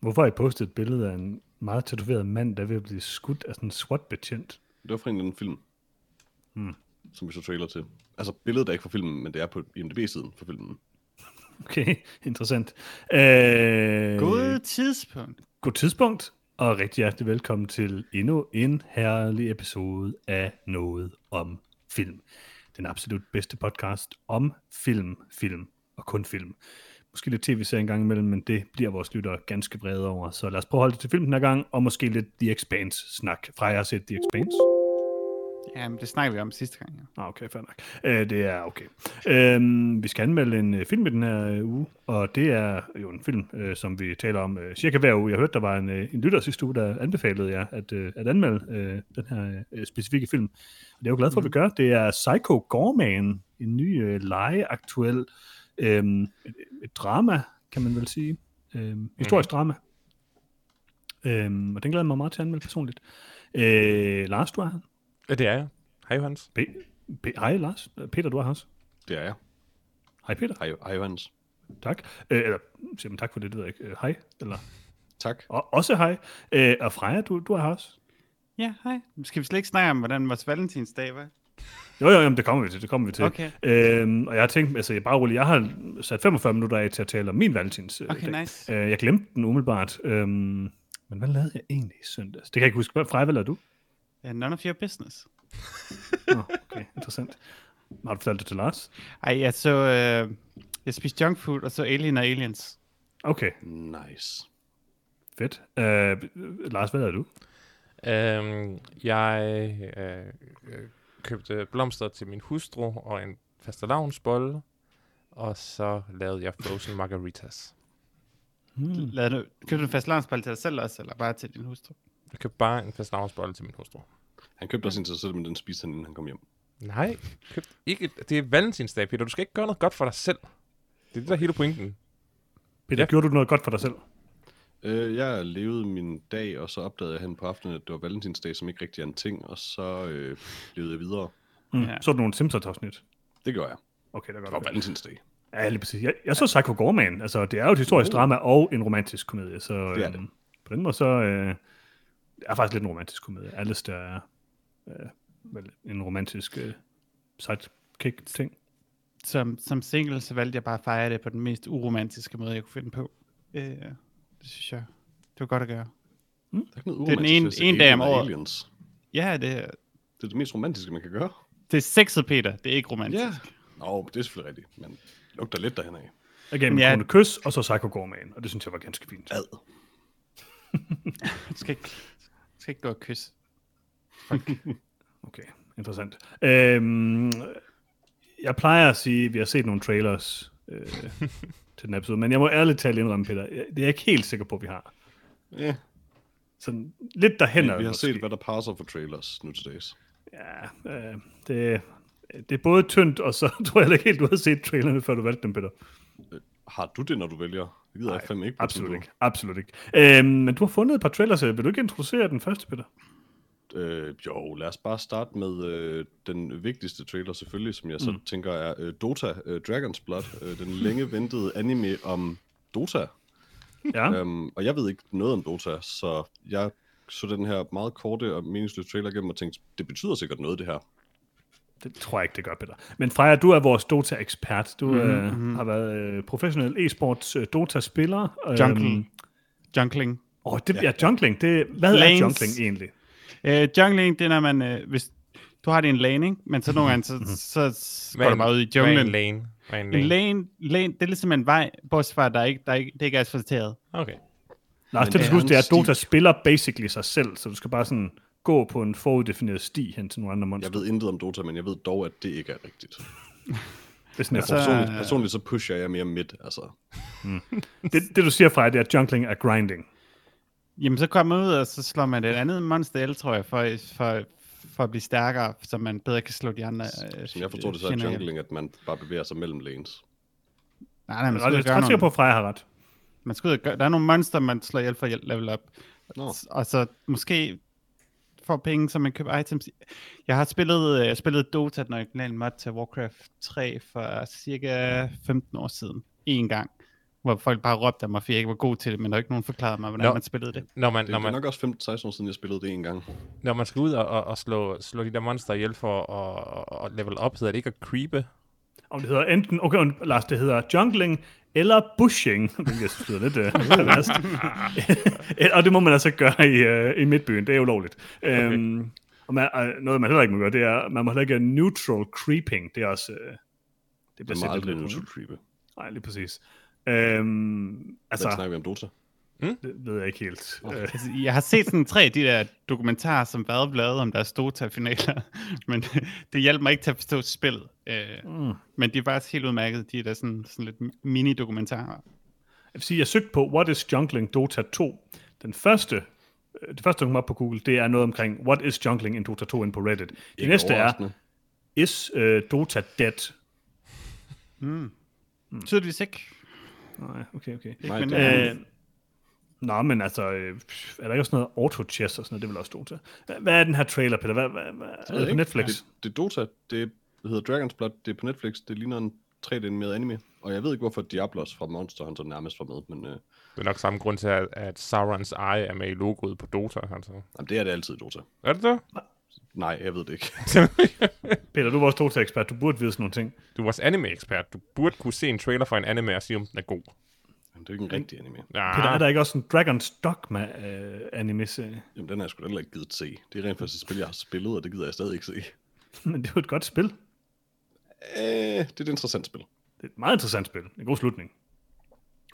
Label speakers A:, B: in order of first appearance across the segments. A: Hvorfor har I postet et billede af en meget tatoveret mand, der er ved at blive skudt af sådan en SWAT-betjent?
B: Det var fra en eller anden film,
A: Hmm.
B: som vi så trailer til. Altså billedet er ikke fra filmen, men det er på IMDb-siden for filmen.
A: Okay, interessant. Øh,
C: God tidspunkt.
A: God tidspunkt, og rigtig hjertelig velkommen til endnu en herlig episode af Noget om Film. Den absolut bedste podcast om film, film og kun film. Måske lidt tv-serie en gang imellem, men det bliver vores lyttere ganske brede over. Så lad os prøve at holde det til film den her gang, og måske lidt The Expanse-snak. Freja har set The Expanse.
C: Jamen, det snakker vi om sidste gang. Ja.
A: Ah, okay, fair nok. Øh, det er okay. Øhm, vi skal anmelde en øh, film i den her øh, uge, og det er jo en film, øh, som vi taler om øh, cirka hver uge. Jeg hørte, der var en, øh, en lytter sidste uge, der anbefalede jer at, øh, at anmelde øh, den her øh, specifikke film. Og det er jeg jo glad for, at vi gør. Det er Psycho Gorman, en ny øh, legeaktuel øh, et, et drama, kan man vel sige. Øh, historisk drama. Øh, og den glæder jeg mig meget til at anmelde personligt. Øh, Lars, du er her.
D: Ja, det er jeg. Hej, Hans.
A: P- P- hej Lars. Øh, Peter, du er her også.
B: Det er jeg.
A: Hej Peter.
B: Hej, hej Johannes.
A: Tak. Øh, eller, siger man tak for det, det ved jeg ikke. Øh, hej. Eller,
B: Tak.
A: og, også hej. Øh, og Freja, du, du er her også.
C: ja, hej. Skal vi slet ikke snakke om, hvordan vores valentinsdag var?
A: Jo, jo, jo, men det kommer vi til, det kommer vi til.
C: Okay.
A: Øhm, og jeg har tænkt, altså jeg er bare rolig, jeg har sat 45 minutter af til at tale om min valentins. øh,
C: Okay,
A: dag.
C: nice.
A: Øh, jeg glemte den umiddelbart. Øhm, men hvad lavede jeg egentlig i søndags? Det kan jeg ikke huske. Hvad- Freja, hvad lavede du?
C: Uh, none of your business.
A: Nå, okay, interessant. Har du fortalt det til Lars?
C: Ej, jeg så... Øh, jeg spiste junk food, og så Alien og Aliens.
A: Okay,
B: Nice.
A: fedt. Øh, Lars, hvad lavede du?
D: Øhm, jeg øh, øh, købte blomster til min hustru og en fastelavnsbolle, og så lavede jeg frozen margaritas.
A: Hmm.
C: Lad nu, købte du en fast til dig selv også, eller bare til din hustru?
D: Jeg købte bare en fastelavnsbolle til min hustru.
B: Han købte også en til sig selv, men den spiste han, inden han kom hjem.
D: Nej, købt ikke. Det er valentinsdag, Peter. Du skal ikke gøre noget godt for dig selv. Det er det, der er hele pointen.
A: Peter,
D: Ja.
A: gjorde du noget godt for dig selv?
B: Øh, jeg levede min dag, og så opdagede jeg hen på aftenen, at det var valentinsdag, som ikke rigtig er en ting, og så øh, levede jeg videre.
A: Mm.
C: Ja.
A: Så du nogle Simpsons-afsnit?
B: Det gjorde jeg.
A: Okay, der
B: Det
A: godt.
B: var valentinsdag.
A: Ja, lige præcis. Jeg, jeg så Psycho Gorman. Altså, det er jo et historisk drama og en romantisk komedie, så
B: Uh. Det er
A: øh,
B: det.
A: på den måde så øh, det er faktisk lidt en romantisk komedie. Alistair er øh, vel en romantisk øh, sidekick-ting.
C: Som, som single, så valgte jeg bare at fejre det på den mest uromantiske måde, jeg kunne finde på. Øh, det synes jeg, det var godt at gøre.
B: Der er ikke noget
C: Det er den
B: uromantisk
C: ene-
B: ved at se
C: ene dag om
B: Alien og
C: året.
B: Aliens.
C: Ja, det, er-
B: Det er det mest romantiske, man kan gøre.
C: det er sexet, Peter. Det er ikke romantisk.
B: Ja. Nå, men det er selvfølgelig rigtigt, men lugter lidt derhen af.
A: Again, med
C: Ja.
A: ja. kys, og så Psycho Gorman, og det synes jeg var ganske fint.
B: Ad.
C: Du skal ikke, du skal ikke gå og kysse.
A: Okay, interessant. Øhm, jeg plejer at sige, at vi har set nogle trailers øh, til den her episode, men jeg må ærligt talt indrømme, Peter, jeg- det er jeg ikke helt sikker på, at vi har.
B: Ja,
A: Sådan lidt derhen.
B: vi har set, hvad der passer for trailers nu til dags.
A: Ja, øh, det, det er både tyndt, og så tror jeg heller ikke helt, du har set trailerne, før du valgte dem, Peter.
B: Har du det, når du vælger? Det gider jeg fandme ikke. på
A: Absolut
B: tilbud.
A: ikke. Absolut ikke. Øh, men du har fundet et par trailers. øh, Vil du ikke introducere den første, Peter?
B: Øh, jo, lad os bare starte med øh, den vigtigste trailer selvfølgelig, som jeg så mm. tænker er øh, Dota øh, Dragon's Blood, øh, den længe ventede anime om Dota.
A: Ja.
B: Ja. Øhm, og jeg ved ikke noget om Dota, så jeg så den her meget korte og meningsløse trailer igennem og tænkte, det betyder sikkert noget det her.
A: Det tror jeg ikke, det gør, Peter. Men Freja, du er vores Dota-ekspert. Du
C: Mhm,
A: mm-hmm. øh, har været øh, professionel e-sports øh, Dota-spiller.
C: Jungle.
A: Øhm,
C: Junkling.
A: Åh, det ja, ja, jungling. Det, hvad
C: Lanes.
A: er jungling egentlig?
C: Øh, jungling, det er, når man... Øh, hvis du har din lane, ikke? men så nogle gange, så, så, så går du bare ud i junglen.
D: Mm-hmm. Hvad er en lane? Hvad er en
C: En
D: lane?
C: lane, lane, det er ligesom en vej, bortset fra, at der ikke, der ikke, det ikke er asfalteret.
D: Okay.
A: Lars,
B: Men
A: det du
B: det
A: skal
B: er
A: huske, det er, at
B: en
A: Dota
B: sti.
A: spiller basically sig selv, så du skal bare sådan gå på en foruddefineret sti hen til nogle andre monster.
B: Jeg ved intet om Dota, men jeg ved dog, at det ikke er rigtigt.
A: Det er sådan, jeg
C: Altså,
B: Personligt,
C: Øh.
B: personligt så pusher jeg mere midt, altså.
A: Det, det du siger, Freja, det er, at jungling er grinding.
C: Jamen, så kommer man ud, og så slår man et andet monster el, tror jeg, for, for, for at blive stærkere, så man bedre kan slå de andre. øh,
B: Som jeg forstår det, så er
C: fjender ihjel.
B: jungling, at man bare bevæger sig mellem lanes.
C: Nej, nej, man
A: Jeg
C: skal ud
A: er
C: og
A: ret-
C: gøre
A: ret sikker på,
C: nogle,
A: at Freja har ret.
C: man skal ud og gøre, der er nogle monster, man slår ihjel for at level up.
B: Nå.
C: Og så måske får penge, så man køber items. Jeg har spillet, øh, jeg spillede Dota, den originale mod til Warcraft 3 for cirka 15 år siden. En gang. Hvor folk bare råbte af mig, fordi jeg ikke var god til det, men der var ikke nogen forklarede mig, hvordan
D: Nå.
C: man spillede det.
D: Når man,
B: Det
D: når
B: er
D: man,
B: nok også 15-16 år siden, jeg spillede det en gang.
D: når man skal ud og, og, og slå, slå de der monster ihjel for at og, og level up, hedder det ikke at creepe?
A: Om det hedder enten, okay, und- Lars, det hedder jungling eller bushing, hvilket jeg synes lyder lidt uh, værst. og det må man altså gøre i, uh, i midtbyen, det er ulovligt. Okay. Um, og man, uh, noget, man heller ikke må gøre, det er, man må heller ikke gøre neutral creeping, det er også... Uh, det
B: Det
A: bliver
B: er
A: simpelthen
B: meget lidt
A: på,
B: neutral
A: ikke?
B: creepy.
A: Nej, lige præcis. Um,
B: Hvad
A: altså,
B: snakker vi om Dota?
A: det ved jeg ikke helt. Øh,
C: Altså, jeg har set sådan tre af de der dokumentarer, som været lavet om deres Dota-finaler, men det hjalp mig ikke til at forstå spillet. Øh, mm. Men de er faktisk helt udmærket, de der sådan, sådan lidt mini-dokumentarer.
A: Jeg vil sige, jeg søgte på What is Jungling Dota 2. Den første, øh, det første, der kom op på Google, det er noget omkring What is Jungling in Dota 2 inde på Reddit. Det
B: Ikke
A: næste er,
B: overraskende.
A: Is øh, Dota dead?
C: Mm. Tydeligvis ikke.
A: Nej, okay, okay.
B: Nej,
C: men,
B: det er-
A: Øh, Nå, men altså, øh, pff, er der ikke også noget auto-chess og sådan noget? Det er vel også Dota. Hva- Hvad er den her trailer, Peter? Hvad, hvad, hvad, er
B: ved
A: det på
B: ikke.
A: Netflix?
B: Det, det er Dota, det hedder Dragon's Blood, det er på Netflix, det ligner en 3D-animeret anime. Og jeg ved ikke, hvorfor Diablos fra Monster Hunter nærmest var med, men øh,
D: Det er nok samme grund til, at, at Saurons Eye er med i logoet på Dota. Altså.
B: jamen, det er det altid i Dota.
D: Er det det?
B: Nej, jeg ved det ikke.
A: Peter, du er vores Dota-ekspert. Du burde vide sådan nogle ting.
D: Du er vores anime-ekspert. Du burde kunne se en trailer for en anime og sige, om den er god.
B: Jamen, det er jo ikke en rigtig anime.
D: Ja,
A: Peter, er der ikke også en Dragon's øh, Dogma-anime-serie?
B: Jamen, den har jeg sgu da heller ikke givet at se. Det er rent faktisk et spil, jeg har spillet, og det gider jeg stadig ikke se.
A: men det er jo et godt spil. Det
B: Øh, det er et interessant spil.
A: er et meget interessant spil. En god slutning.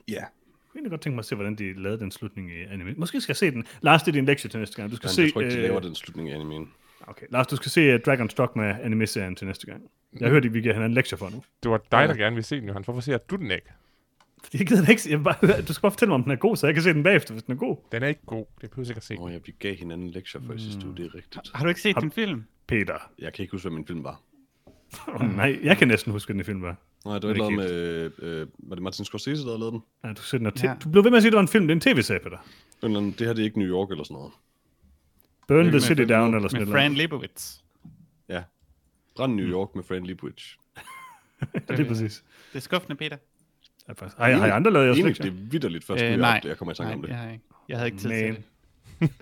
B: Ja.
A: Jeg kunne egentlig godt tænke mig at se, hvordan de lavede den slutning i anime. Måske skal jeg se den. Lars, det er din lektie til næste gang. Du skal
B: Jamen,
A: se,
B: jeg tror ikke, de
A: øh,
B: laver den slutning i animen.
A: Okay, Lars, du skal se uh, Dragon's Dogma anime-serien til næste gang. Jeg
B: Mm.
A: hørte, at vi giver han en lektie for nu.
D: Det var dig, der gerne ville se den, Johan. Hvorfor ser du den ikke?
A: Fordi jeg gider det ikke. se- Jeg vil bare, høre- du skal bare fortælle mig, om den er god, så jeg kan se den bagefter, hvis den er god.
D: Den er ikke god. Det behøver sikkert at se.
B: Nå, ja, vi gav hinanden lektier for i
A: Mm.
B: sidste uge, det er rigtigt.
C: Har du ikke set den film?
A: Peter.
B: Jeg kan ikke huske, hvad min film var. Mm.
A: Oh, nej, jeg kan næsten huske, at den i film var.
B: Nej, det var
A: Ikke
B: noget med, øh, var det Martin Scorsese, der havde lavet den?
A: Ja, du, ser den her te-
C: Ja.
A: du blev ved med at sige, at det var en film. Det er en tv-serie, Peter.
B: En eller anden, det her det er ikke New York eller sådan noget.
A: Burn the
C: med
A: City
C: film,
A: Down eller sådan
C: Med
A: noget.
C: Fran Lebowitz.
B: Ja. Brand
A: Mm.
B: New York med Friendly Bridge.
A: Ja,
C: øh,
A: det er præcis.
C: Det er skuffende, Peter.
A: Ja, faktisk. Har, har jeg andre lavet jeres
B: Enig,
A: lektier?
B: det er vidderligt først,
C: Øh,
B: øh,
C: nej,
B: jeg, jeg kommer i tanke
C: nej,
B: om det.
C: jeg har ikke. Jeg havde ikke tid
A: Man.
C: til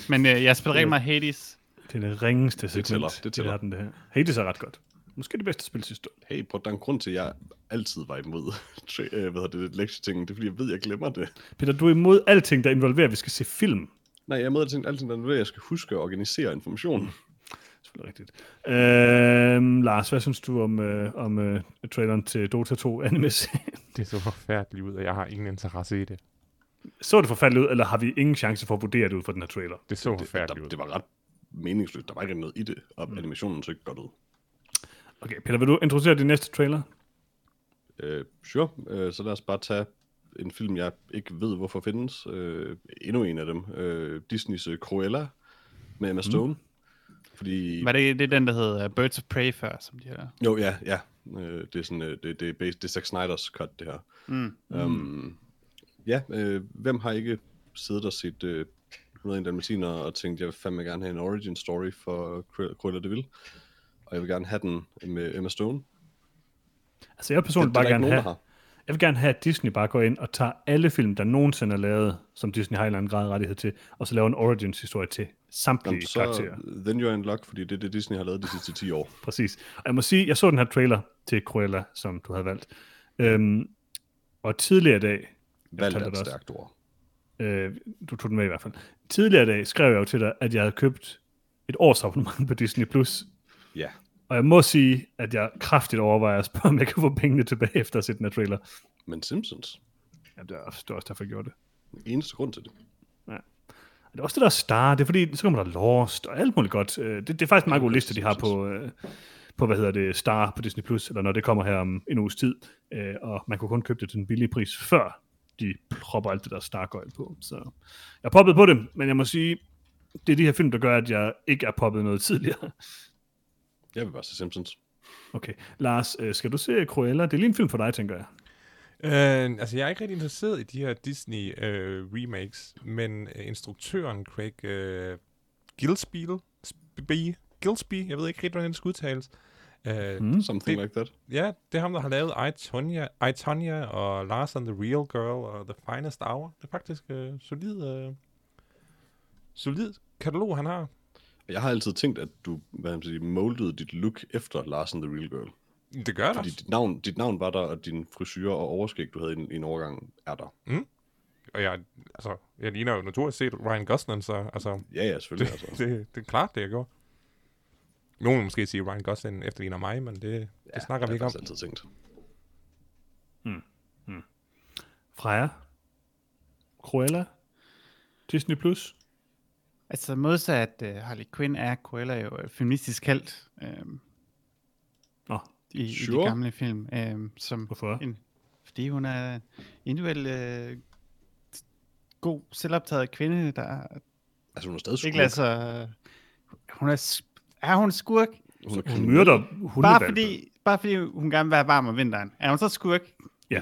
C: det. Men øh, jeg spillede rigtig meget Hades.
A: Det er det ringeste segment.
B: tæller, det
A: i
B: tæller.
A: verden, det her. Hades er ret godt. Måske det bedste spil sidste år.
B: Hey, prøv, der er en grund til, at jeg altid var imod tra- øh, hvad hedder det, lektieting. Det er, fordi jeg ved, jeg glemmer det.
A: Peter, du er imod alting, der involverer, at vi skal se film.
B: Nej, jeg er med til altid, når jeg skal huske at organisere information.
A: Selvfølgelig rigtigt. Øhm, Lars, hvad synes du om, øh, om øh, traileren til Dota 2 anime
D: Det så forfærdeligt ud, og jeg har ingen interesse i det.
A: Så det forfærdeligt ud, eller har vi ingen chance for at vurdere det ud fra den her trailer?
D: Det så
B: Der,
D: forfærdeligt ud.
B: det var ret meningsløst. Der var ikke noget i det, og
A: Mm.
B: animationen så ikke godt ud.
A: Okay, Peter, vil du introducere din næste trailer?
B: Øh, sure, øh, så lad os bare tage en film, jeg ikke ved, hvorfor findes. Øh, endnu en af dem. Øh, Disney's øh, Cruella med Emma Stone. Fordi...
C: Var det, det Mm. er den, der hedder øh, Birds of Prey før, som de har.
B: Jo, ja, ja. Øh, det er sådan, øh, det, det, er based, det er Zack Snyder's cut, det her.
C: Mm.
B: Um, ja, øh, hvem har ikke siddet og set øh, 101 Dalmatiner og tænkt, jeg vil fandme gerne have en origin story for Cru- Cruella de Vil, og jeg vil gerne have den med Emma Stone.
A: Altså, jeg
B: Det,
A: personligt
B: det er
A: bare
B: der ikke
A: gerne
B: nogen, der
A: have,
B: har.
A: jeg vil gerne have, at Disney bare går ind og tager alle film, der nogensinde er lavet, som Disney har en eller anden grad af rettighed til, og så laver en origins-historie til samtlige
B: Jamen,
A: Jamen,
B: så,
A: karakterer.
B: then you're in luck, fordi det er det, Disney har lavet de sidste 10 år.
A: Præcis. Og jeg må sige, jeg så den her trailer til Cruella, som du havde valgt. Øhm, og tidligere i dag,
B: Valg
A: tager
B: er
A: det
B: et
A: også.
B: stærkt ord.
A: øh, du tog den med i hvert fald. Tidligere i dag skrev jeg jo til dig, at jeg havde købt et års abonnement på Disney+. Plus.
B: Ja,
A: Og jeg må sige, at jeg kraftigt overvejer at spørge, om jeg kan få pengene tilbage efter at se den her trailer.
B: men Simpsons.
A: Ja, det er også det er også derfor, jeg gjorde det.
B: Eneste grund til det.
A: Og det er også det, der er Star. Det er fordi, så kommer der Lost og alt muligt godt. Øh, Det, det er faktisk en meget god liste, de har på, øh, på, hvad hedder det, Star på Disney+, Plus, eller når det kommer her om en uges tid. Øh, Og man kunne kun købe det til en billig pris, før de propper alt det der Stargøjl på. Så jeg er poppet på det, men jeg må sige, det er de her film, der gør, at jeg ikke er poppet noget tidligere.
B: Jeg vil bare se Simpsons.
C: Mm,
A: Okay, Lars, øh, skal du se Cruella? Det er lige en film for dig, tænker jeg.
D: Øh, altså, jeg er ikke rigtig interesseret i de her Disney-remakes, men øh, instruktøren Craig øh, Gillespie, Sp- Gillespie, jeg ved ikke rigtig, hvordan det skal udtales. Øh,
A: Mm.
B: Something like that.
D: Ja, det er ham, der har lavet I, Tonya, I, Tonya og Lars and the Real Girl og The Finest Hour. Det er faktisk øh, solid, øh, solid katalog, han har.
B: Og Jeg har altid tænkt, at du hvad man siger, moldede dit look efter Larsen the Real Girl.
D: Det gør det
B: Fordi
D: også.
B: dit navn, dit navn var der, og din frisyr og overskæg, du havde i en, i en overgang, er der.
D: Og jeg, altså, jeg ligner jo naturligt set Ryan Gosling, så altså,
B: Ja, ja, selvfølgelig.
D: det,
B: altså.
D: det, det er klart, det jeg gjorde. Nogen vil måske sige, at Ryan Gosling efterligner mig, men det, det
B: Ja,
D: snakker vi
B: det
D: ikke
B: har
D: om.
B: jeg faktisk altid tænkt.
A: Freja? Cruella? Disney+. Plus?
C: Altså modsat uh, Harley Quinn er Cruella jo øh, feministisk held øhm,
A: Nå,
C: i, i
B: Sure.
C: de gamle film. Øhm, som
A: hvorfor?
C: en, fordi hun er individuel øh, god, selvoptaget kvinde, der
B: Altså, hun er stadig skurk.
C: ikke lader sig... Hun er, sp- er hun skurk?
B: Hun er
A: Hun
B: kriminel.
A: myrder hundevalpe.
C: Bare fordi, bare fordi hun gerne vil være varm om vinteren. Er hun så skurk?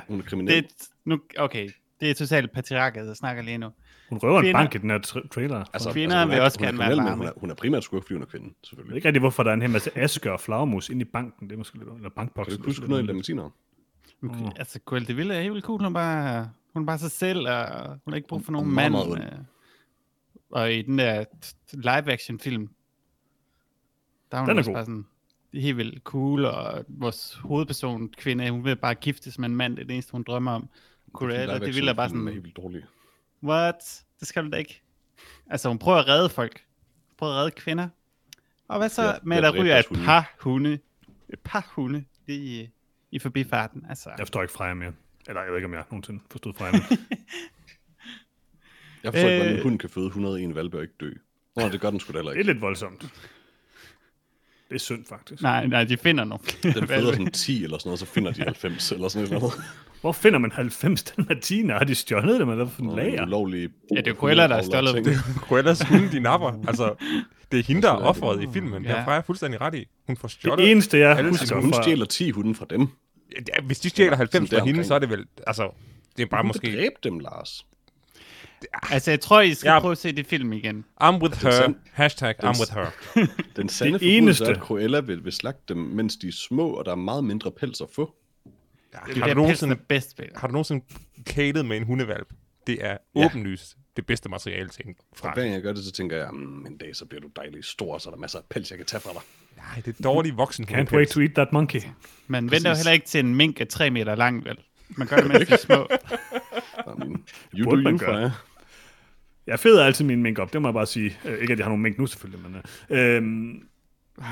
B: Hun er kriminel.
C: Det er, nu, okay, det er totalt patriarket, jeg snakker lige nu.
A: Hun røver en
C: Kvinder-
A: bank i den her tra- trailer. Altså,
C: kvinder
B: hun er-
C: vil også
B: hun er
C: gerne
B: kriminel,
C: være
B: men
C: varme.
B: Hun er, hun er primært skurk, fordi hun er kvinde,
A: jeg ved
B: selvfølgelig.
A: ikke rigtig, hvorfor der er en hel masse aske og flagmus inde i banken. Det er måske lidt eller
B: Kan
A: bankboksen.
B: du ikke huske noget af lamentiner?
C: Okay.
A: Åh.
C: Mm. Altså, Cruella de Vil er helt vildt cool. Hun er bare, hun er bare sig selv, og hun har ikke brug for
B: Og- og
C: nogen
B: meget,
C: mand.
B: meget ond.
C: øh. Og i den der t- t- live-action-film, der er hun
A: Den er
C: også
A: god.
C: bare sådan det er helt vildt cool, og vores hovedperson, kvinde, hun vil bare giftes med en mand, det er det eneste, hun drømmer om. Cruella de Vil er bare
B: Den er
C: sådan,
B: helt vildt dårlig.
C: what? Det skal du da ikke. Altså, hun prøver at redde folk. Hun prøver at redde kvinder. Og hvad så
B: Ja,
C: med,
B: ja,
C: at der
B: dræbe
C: ryger et
B: deres hunde.
C: par hunde? Et par hunde lige i, i forbifarten, altså.
A: Jeg forstår ikke Freja mere. Eller jeg ved ikke, om jeg nogensinde forstod Freja mere.
B: Jeg forstår ikke, hvordan
C: Øh.
B: en hund kan føde 101 valpe og ikke dø. Nå, det gør den sgu da heller
A: Det er
B: ikke.
A: lidt voldsomt. Det er synd, faktisk.
C: Nej, nej, de finder nogle flere
B: Den føder sådan 10 eller sådan noget, så finder de 90 eller sådan noget.
A: Hvor finder man 90 dalmatiner? Har de stjålet dem, eller hvad for en
B: Lager.
A: lager?
B: Ulovlige
C: Ja, det er Cruella, der har
B: ulovlige
C: stjålet
B: ting.
C: dem.
D: Cruellas hunde, de napper. Altså, det er hende, der er offeret i filmen. Det
C: Ja.
D: har Freja fuldstændig ret i. Hun får stjålet.
A: Det eneste, jeg
D: Alle
A: husker
B: Altså, hun
A: fra...
B: stjæler 10 hunde fra dem.
D: Ja, hvis de stjæler 90 fra hende,
B: deromkring.
D: så er det vel... Altså, det er bare
B: Hun
D: måske...
B: kan dræbe dem, Lars.
C: Altså, jeg tror, I skal
D: Ja.
C: prøve at se det film igen.
D: I'm with her.
B: sand-
D: Hashtag I'm with her.
B: Den sande det
A: eneste.
B: eneste. er, at Cruella vil, vil slagte dem, mens de er små, og der er meget mindre pels at få.
C: Det
D: Har du
C: er pelsen er
D: nogensinde,
C: bedst ved.
D: har du nogensinde kælet med en hundevalp? Det er
B: Ja.
D: åbenlyst det bedste materiale til en
B: Og
D: fra.
B: hver gang jeg gør det, så tænker jeg, "Mm, en dag så bliver du dejlig stor, og så er der masser af pels, jeg kan tage fra dig.
D: Nej, det er dårlig voksen
A: Can't wait to eat that monkey.
C: Man venter jo heller ikke til en mink er 3 meter lang, vel? Man gør det, mens de er små.
B: I mean, you
A: burde
B: do
A: man gøre.
B: you, Freja.
A: Jeg feder altid min mink op, det må jeg bare sige. Øh, ikke, at jeg har nogen mink nu, selvfølgelig, men... Øh, øhm, Peter,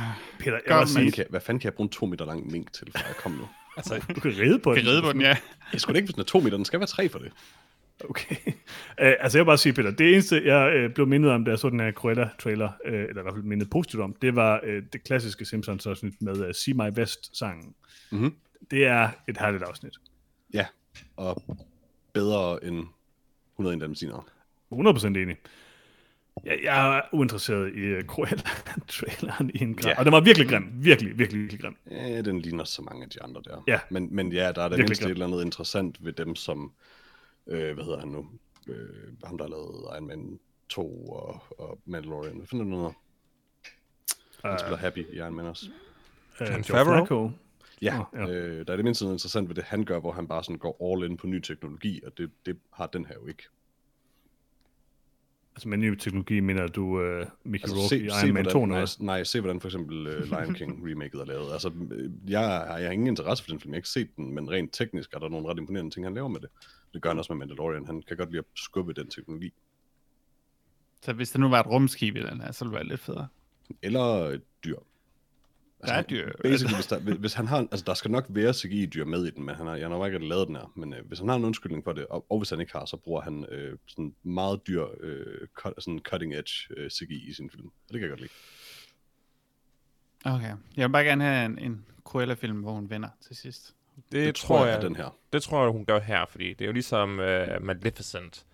A: jeg
C: Ah, Gør
A: vil også
C: man
A: sige,
B: Hvad kan- Hvad fanden kan jeg bruge en to meter lang mink til, Freja? Kom nu.
D: Altså,
A: du kan ride på
C: Kan
A: den.
C: ride på den, ja.
B: Jeg skulle da ikke, hvis den er to meter, den skal være tre for det.
A: Okay. Øh, altså, jeg vil bare sige, Peter, det eneste, jeg øh, blev mindet om, da jeg så den her Cruella-trailer, øh, eller i hvert fald mindet positivt om, det var øh, det klassiske Simpsons-afsnit med øh, See My West-sangen.
B: Mhm.
A: Det er et herligt afsnit.
B: Ja, og bedre end 101 dalmatiner.
A: 100% enig. Jeg, jeg er uinteresseret i uh, Cruella-traileren i en grad.
B: Ja.
A: Og den var virkelig grim. Virkelig, virkelig, virkelig grim.
B: Ja, den ligner så mange af de andre der.
A: Ja.
B: Men, men ja, der er da
A: Virkelig
B: mindst et
A: godt.
B: eller andet interessant ved dem, som... Øh, hvad hedder han nu? Øh, ham, der har lavet Iron Man 2 og, og Mandalorian. Hvad finder du noget? Han
A: Øh.
B: spiller Happy i Iron Man også.
A: Uh,
D: John
A: John
D: Favreau?
A: Favreau.
B: Ja,
A: Nå, ja.
B: Øh, der er det mindst noget interessant ved det, han gør, hvor han bare sådan går all in på ny teknologi, og det, det har den her jo ikke.
A: Altså med ny teknologi mener du uh, Mickey
B: Altså,
A: Rourke
B: se,
A: i
B: se,
A: Iron Man 2
B: hvordan,
A: nu
B: nej,
A: også?
B: nej, se hvordan for eksempel uh, Lion King remaket er lavet. Altså, øh, jeg, har- jeg har ingen interesse for den film, jeg har ikke set den, men rent teknisk er der nogle ret imponerende ting, han laver med det. Det gør han også med Mandalorian, han kan godt lide at skubbe den teknologi.
C: Så hvis der nu var et rumskib i den her, så ville det være lidt federe.
B: Eller et dyr.
C: Der er
D: Altså,
C: dyr.
B: Basically, hvis, der, hvis- hvis han har, en- altså der skal nok være CGI-dyr med i den, men han har, jeg har nok ikke lavet den her, men øh, hvis han har en undskyldning for det, og, og hvis han ikke har, så bruger han øh, sådan meget dyr, øh, cut, sådan cutting edge øh, CGI i sin film, og det kan jeg godt lide.
C: Okay. Jeg vil bare gerne have en, en Cruella-film, hvor hun vinder til sidst.
D: det, det tror jeg,
B: er den her.
D: det tror jeg, hun gør her, fordi det er jo ligesom uh, Maleficent,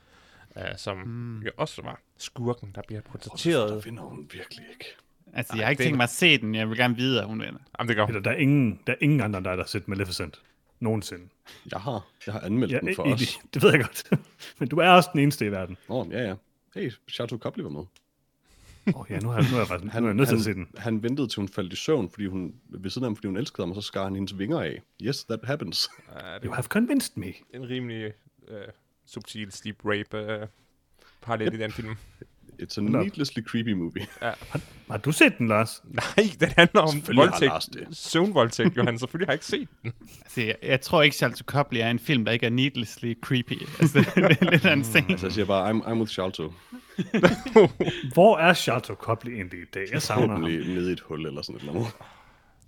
D: uh, som mm. jo også var skurken, der bliver
B: Der
D: portrætteret.
B: vinder hun virkelig ikke.
C: Altså, jeg
D: Ej,
C: har ikke
D: det-
C: tænkt mig at se den. Jeg vil gerne vide, at hun vinder.
D: Jamen, det gør hun.
A: Peter, der er ingen, der er ingen andre end dig, der har set Maleficent. Nogensinde.
B: Jeg har, jeg har anmeldt ja, den for
A: i- i-
B: os.
A: Det ved jeg godt. Men du er også den eneste i verden.
B: Nå, ja, ja. Hey, Chateau Copley var med.
A: Åh oh, ja, nu har, nu er jeg faktisk han, nu er jeg nødt til
B: han,
A: at se den.
B: han ventede til hun faldt i søvn, fordi hun, ved siden af ham, fordi hun elskede ham, og så skar han hendes vinger af. Yes, that happens.
D: Ja, det
A: You have convinced me.
D: er en rimelig øh, subtil sleep rape øh, parallel i den film.
B: It's a needlessly creepy movie.
A: Har du set den, Lars?
D: Nej, den handler om
B: Selvfølgelig har Lars
D: voldtægt.
B: det.
D: Søvnvoldtægt, Johan. Selvfølgelig har jeg ikke set den.
C: Altså, jeg, jeg tror ikke, Charles Copley er en film, der ikke er needlessly creepy. Altså, det er lidt af en ting.
B: Så Altså, jeg siger bare, I'm, I'm with Shalto.
A: Hvor er Chateau Copley egentlig i dag? Jeg savner ham.
B: Forhåbentlig nede i et hul eller sådan et eller andet.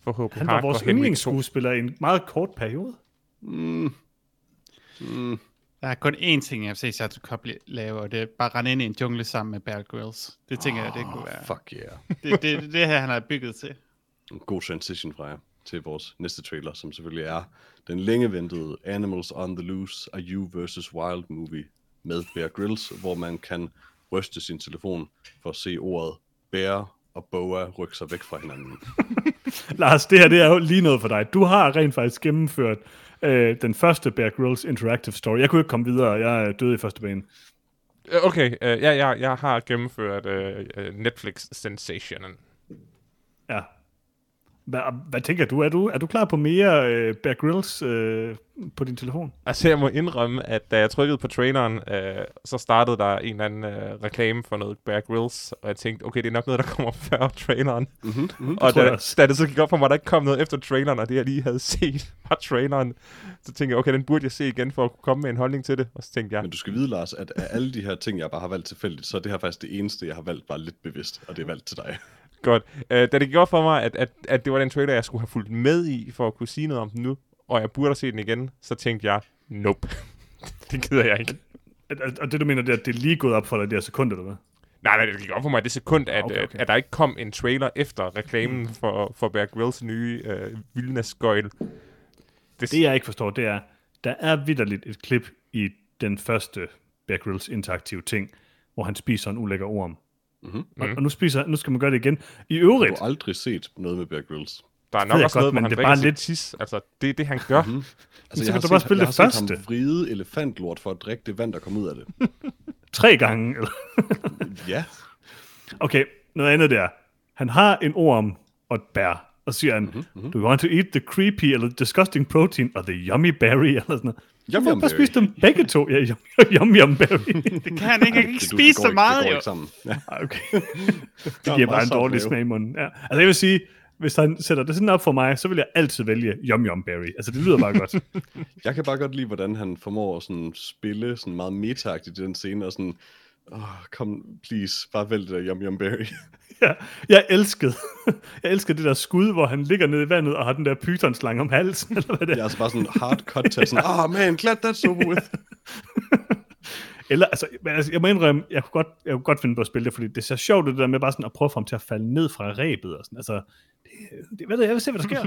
D: Forhåbentlig
A: Han var vores yndlingsskuespiller i en meget kort periode.
C: Der er kun én ting, jeg vil se Charles Copley lave, og det er bare rende ind i en jungle sammen med Bear Grylls. Det tænker jeg, det kunne være.
B: Fuck yeah.
C: Det, det, det, det her, han har bygget til.
B: En god transition fra jer til vores næste trailer, som selvfølgelig er den længe ventede Animals on the Loose, A You vs. Wild movie med Bear Grylls, hvor man kan ryste sin telefon for at se ordet Bear og Boa rykke sig væk fra hinanden.
A: Lars, det her det er jo lige noget for dig. Du har rent faktisk gennemført øh, den første Bear Grylls Interactive Story. Jeg kunne ikke komme videre. Jeg er død i første bane.
D: Øh, Okay, øh, ja, jeg, jeg har gennemført øh, øh, Netflix-sensationen.
A: Ja. Hvad, hvad tænker du? Er du, er du klar på mere øh, Bear Grylls øh, på din telefon?
D: Altså, jeg må indrømme, at da jeg trykkede på traileren, øh, så startede der en eller anden øh, reklame for noget Bear Grylls, og jeg tænkte, okay, det er nok noget, der kommer før traileren. Mm-hmm, mm-hmm, og
A: tror jeg
D: da,
A: også.
D: da det så gik op for mig, at der ikke kom noget efter traileren, og det, jeg lige havde set, var traileren, så tænkte jeg, okay, den burde jeg se igen, for at kunne komme med en holdning til det, og så tænkte jeg,
B: Men du skal vide, Lars, at af alle de her ting, jeg bare har valgt tilfældigt, så er det her faktisk det eneste, jeg har valgt bare lidt bevidst, og det er valgt til dig.
D: Godt. Øh, da det gik op for mig, at, at, at det var den trailer, jeg skulle have fulgt med i, for at kunne sige noget om den nu, og jeg burde have set den igen, så tænkte jeg, nope. det gider jeg ikke.
A: At- at- Og det du mener, det er, at det er lige gået op for dig i det her sekund, eller hvad?
D: Nej, nej, det gik op for mig det sekund, at,
A: Ah, Okay, okay.
D: okay,
A: Mm.
D: okay. at der ikke kom en trailer efter reklamen for, for Bear Grylls nye øh, Vilnas-gøjl.
A: Det jeg ikke forstår, det er, der er vidderligt et klip i den første Bear Grylls interaktive ting, hvor han spiser en ulækker orm. Mm-hmm. Og, og nu, spiser, nu skal man gøre det igen. I
B: Du
A: øvrigt,
B: har aldrig set noget med Bear Grylls. Altså,
D: Der er nok
A: ved jeg
D: også
A: godt,
D: noget, hvor
A: men
D: han
A: det er
D: drikker
A: bare
D: sit
A: lidt- Mhm.
D: tis. Altså, det er det, han gør.
B: Altså,
A: så kan du bare spille
B: jeg
A: det
B: har set ham
A: første.
B: vride elefantlort for at drikke det vand, der kom ud af det.
A: tre gange. Eller?
B: Ja,
A: Okay, noget andet der. Han har en orm og et bær, og siger han, mm-hmm. do you want to eat the creepy eller disgusting protein or the yummy berry, eller sådan noget.
B: Yum
A: Hvorfor
B: Yum
A: bare
B: Berry.
A: spise dem begge to? Ja, yum, yum, yum berry.
C: Det kan han ikke, han kan ikke
B: det, du-
C: spise
B: det går
C: så meget,
B: ikke, det går
C: jo.
B: ikke sammen. Ja,
A: Ah, Okay. det giver
B: er meget
A: bare en
B: sart
A: dårlig
B: mave.
A: smag i munden. Ja. Altså jeg vil sige, hvis han sætter det sådan op for mig, så vil jeg altid vælge Yum Yum Berry. Altså det lyder bare godt.
B: Jeg kan bare godt lide, hvordan han formår at sådan spille sådan meget metagtigt i den scene, og sådan, oh, kom, please, bare vælg det der Yum Yum Berry.
A: ja, jeg elskede, jeg elskede det der skud, hvor han ligger nede i vandet og har den der pythonslange om halsen, eller hvad det
B: Jeg er
A: er.
B: altså bare sådan hard cut til sådan, ah oh, man, glad that's over with.
A: Eller, altså, men altså, jeg må indrømme, jeg kunne, godt, jeg kunne godt finde på at spille det, fordi det ser sjovt ud, det der med bare sådan at prøve at få ham til at falde ned fra rebet. Og sådan. Altså, det, det, hvad ved jeg, jeg vil se, hvad der sker.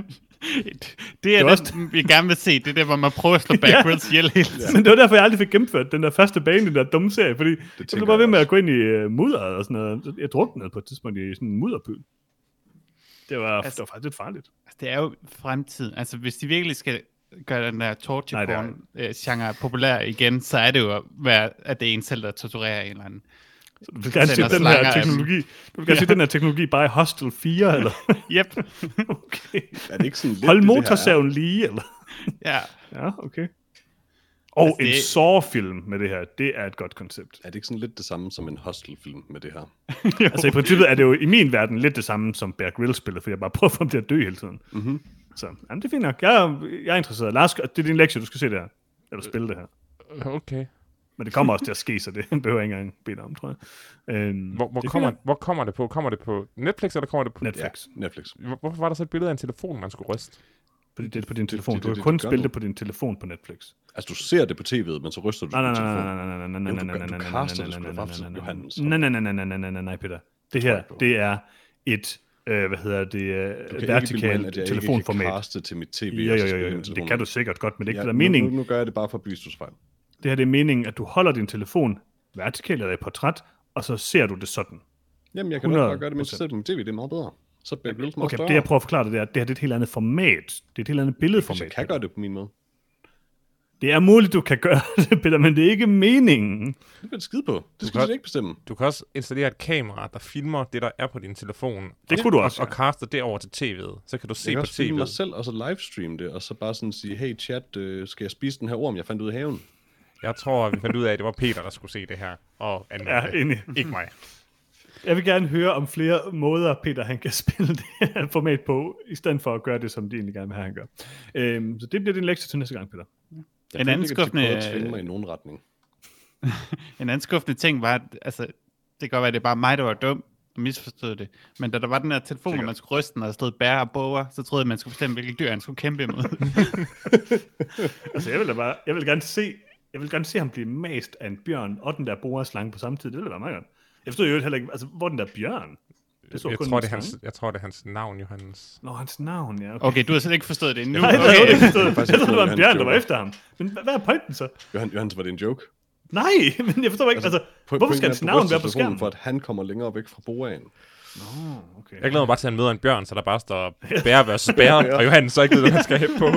C: Det er
A: er
C: det,
A: også-
C: den, vi gerne vil se. Det er der, hvor man prøver at slå
A: Ja.
C: Bear Grylls ihjel hele tiden.
A: Men det var derfor, jeg aldrig fik gennemført den der første bane, i den der dumme serie, fordi jeg blev
B: tænker
A: bare ved
B: jeg
A: med at
B: også.
A: gå ind i uh, mudderet og sådan noget. Jeg druknede på et tidspunkt i sådan en mudderpøl. Det var, altså,
C: Altså-
A: det var faktisk lidt farligt.
C: Altså, Det er jo fremtiden. Altså, hvis de virkelig skal gøre den der
A: Nej,
C: torture
A: det er
C: porn øh, genre populær igen, så er det jo, at, være, at det er en selv, der torturerer en eller anden.
A: Så du vil gerne se
C: Sender
A: den her
C: Altså, slanger af dem.
A: teknologi. Du vil gerne se den her teknologi bare i Hostel 4, eller?
C: Yep.
A: okay.
B: Er det ikke sådan lidt
A: Hold
B: det, det her er?
A: motorsaven lige, eller?
C: ja.
A: Ja, okay. Og
C: Altså,
A: en
C: det-
A: Saw-film med det her, det er et godt koncept.
B: Er det ikke sådan lidt det samme som en hostelfilm med det her?
A: Altså i princippet er det jo i min verden lidt det samme som Bear Grylls spillet, for jeg bare prøver at få ham til at dø hele tiden. Mm-hmm. Så jamen, det er fint nok. Jeg er, jeg er interesseret. Lars, det er din lektie, du skal se det her. Eller spille det her.
D: Okay.
A: Men det kommer også til at ske, så det behøver jeg ikke engang bede dig om, tror jeg. Øhm,
D: Hvor, hvor,
A: det er
D: kommer,
A: fint
D: hvor kommer det på? Kommer det på Netflix, eller kommer det på...
A: nok. Netflix? Ja.
B: Netflix.
D: Hvor- Hvorfor var der så et billede af en telefon, man skulle ryste?
A: Fordi det er på din telefon.
B: det-
A: Du
B: det-
A: kan
B: det-
A: kun
B: det gør
A: spille
B: du.
A: det på din telefon på Netflix.
B: Altså, du ser det på tv'et, men så ryster du
A: Nej, nej,
B: på
A: nej,
B: telefonen.
A: nej, nej, nej, nej, nej,
B: Jo, du
A: nej,
B: gør-
A: nej,
B: du
A: nej,
B: kaster
A: nej,
B: det sgu da
A: nej,
B: bare,
A: nej, nej,
B: Johannes.
A: nej, nej, nej, nej, nej, nej, nej, nej, nej, Peter. Det her,
B: jeg på.
A: det er et, øh, hvad hedder det,
B: Du
A: øh,
B: kan ikke bilde mig ind, at
A: vertikalt
B: jeg ikke kan
A: telefonformat.
B: kaste til mit tv.
A: Jo,
B: og
A: jo,
B: så
A: jo,
B: spille
A: jo,
B: min telefon.
A: det kan du sikkert godt, men det er ikke
B: Ja,
A: det, der er
B: nu-
A: meningen.
B: Nu, nu, gør jeg det bare for at belyse du fejl.
A: Det her det er meningen, at du holder din telefon vertikalt eller i portræt, og så ser du det sådan.
B: Jamen, jeg kan nok bare
A: 100%.
B: gøre det, mens jeg sidder på min tv. Det er meget bedre. Så bliver det lidt meget
A: Okay,
B: større.
A: det jeg prøver at forklare dig, det er, at det her det er et helt andet format. Det er et helt andet
B: Hvis
A: billedformat.
B: jeg kan gøre det på min måde.
A: Det er muligt, du kan gøre det, Peter, men det er ikke meningen.
B: Det kan skide på. Det skal
D: kan-
B: de ikke bestemme.
D: Du kan også installere et kamera, der filmer det, der er på din telefon.
A: Det
D: og,
A: kunne du
D: og,
A: også,
D: Og
A: ja.
D: caster det over til tv'et. Så kan du se
B: jeg kan
D: på
B: også filme mig
D: tv'et.
B: selv, og så livestream det, og så bare sådan sige, hey chat, øh, skal jeg spise den her orm, jeg fandt ud af haven?
D: Jeg tror, vi fandt ud af, at det var Peter, der skulle se det her. Og anmelde
A: Ja,
D: det.
A: enig.
D: Ikke mig.
A: Jeg vil gerne høre om flere måder, Peter han kan spille det her format på, i stedet for at gøre det, som de egentlig gerne vil have, han gør. Øhm, så det bliver din lektie til næste gang, Peter.
B: Jeg
C: En
B: følte
C: anden
B: ikke, at de prøvede at
A: øh,
C: skuffende-
B: tvinge mig i nogen retning.
C: En anden skuffende ting var, at altså, det kan godt være, at det er bare mig, der var dum og misforstod det. Men da der var den her telefon, hvor man skulle ryste den, og der stod bære og boger, så troede jeg, man skulle bestemme, hvilke dyr han skulle kæmpe imod.
A: Altså, jeg vil da bare, jeg vil gerne se, jeg vil gerne se ham blive mast af en bjørn og den der boreslange på samme tid. Det ville da være meget godt. Jeg forstod jo heller ikke, altså, hvor er den der bjørn? Det så
D: Jeg
A: kun
D: tror,
A: en
D: det er hans,
A: slange.
D: jeg tror, det er hans navn, Johannes.
A: Nå, hans navn, ja. Okay.
C: Okay, du har slet ikke forstået det endnu.
A: Nej, det havde jeg ikke
C: Okay.
A: forstået. Jeg
B: faktisk
A: troede, det var en
B: forstået,
A: bjørn,
B: han
A: der var
B: gjorde.
A: efter ham. Men hva- hvad er pointen så?
B: Johan, Johans, var det en joke?
A: Nej, men jeg forstår ikke, altså, hvorfor
B: pointen
A: skal
B: er,
A: hans
B: at du
A: navn
B: ryster
A: være på
B: telefonen
A: skærmen?
B: For at han kommer længere væk fra boaen.
A: Nå, okay.
D: Jeg glæder mig bare til, at han møder en bjørn, så der bare står bære versus bære, og Johannes så ikke ved, hvad han skal hæppe på.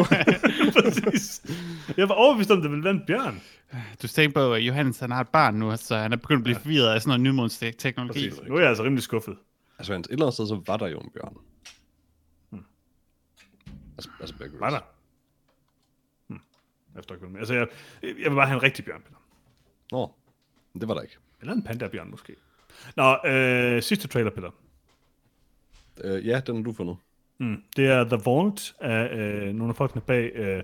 A: Præcis. Jeg var overbevist om, at det ville være en bjørn.
C: Du tænker på, at Johannes han har et barn nu, så han er begyndt at blive forvirret af sådan noget nymodens te- teknologi.
A: Nu er jeg altså rimelig skuffet.
B: Altså, Hans, et eller andet sted, så var der jo en bjørn. Altså, altså Bear Grylls.
A: Hmm. Var der? Hm. Jeg forstår ikke, hvad du mener. Altså, jeg, jeg vil bare have en rigtig bjørn, Peter.
B: Nå, men det var der ikke.
A: Eller en pandabjørn, måske. Nå, øh, sidste trailer, Peter.
B: Øh, ja, den har du fundet.
A: Mm. Det er The Vault af øh, nogle af folkene bag øh,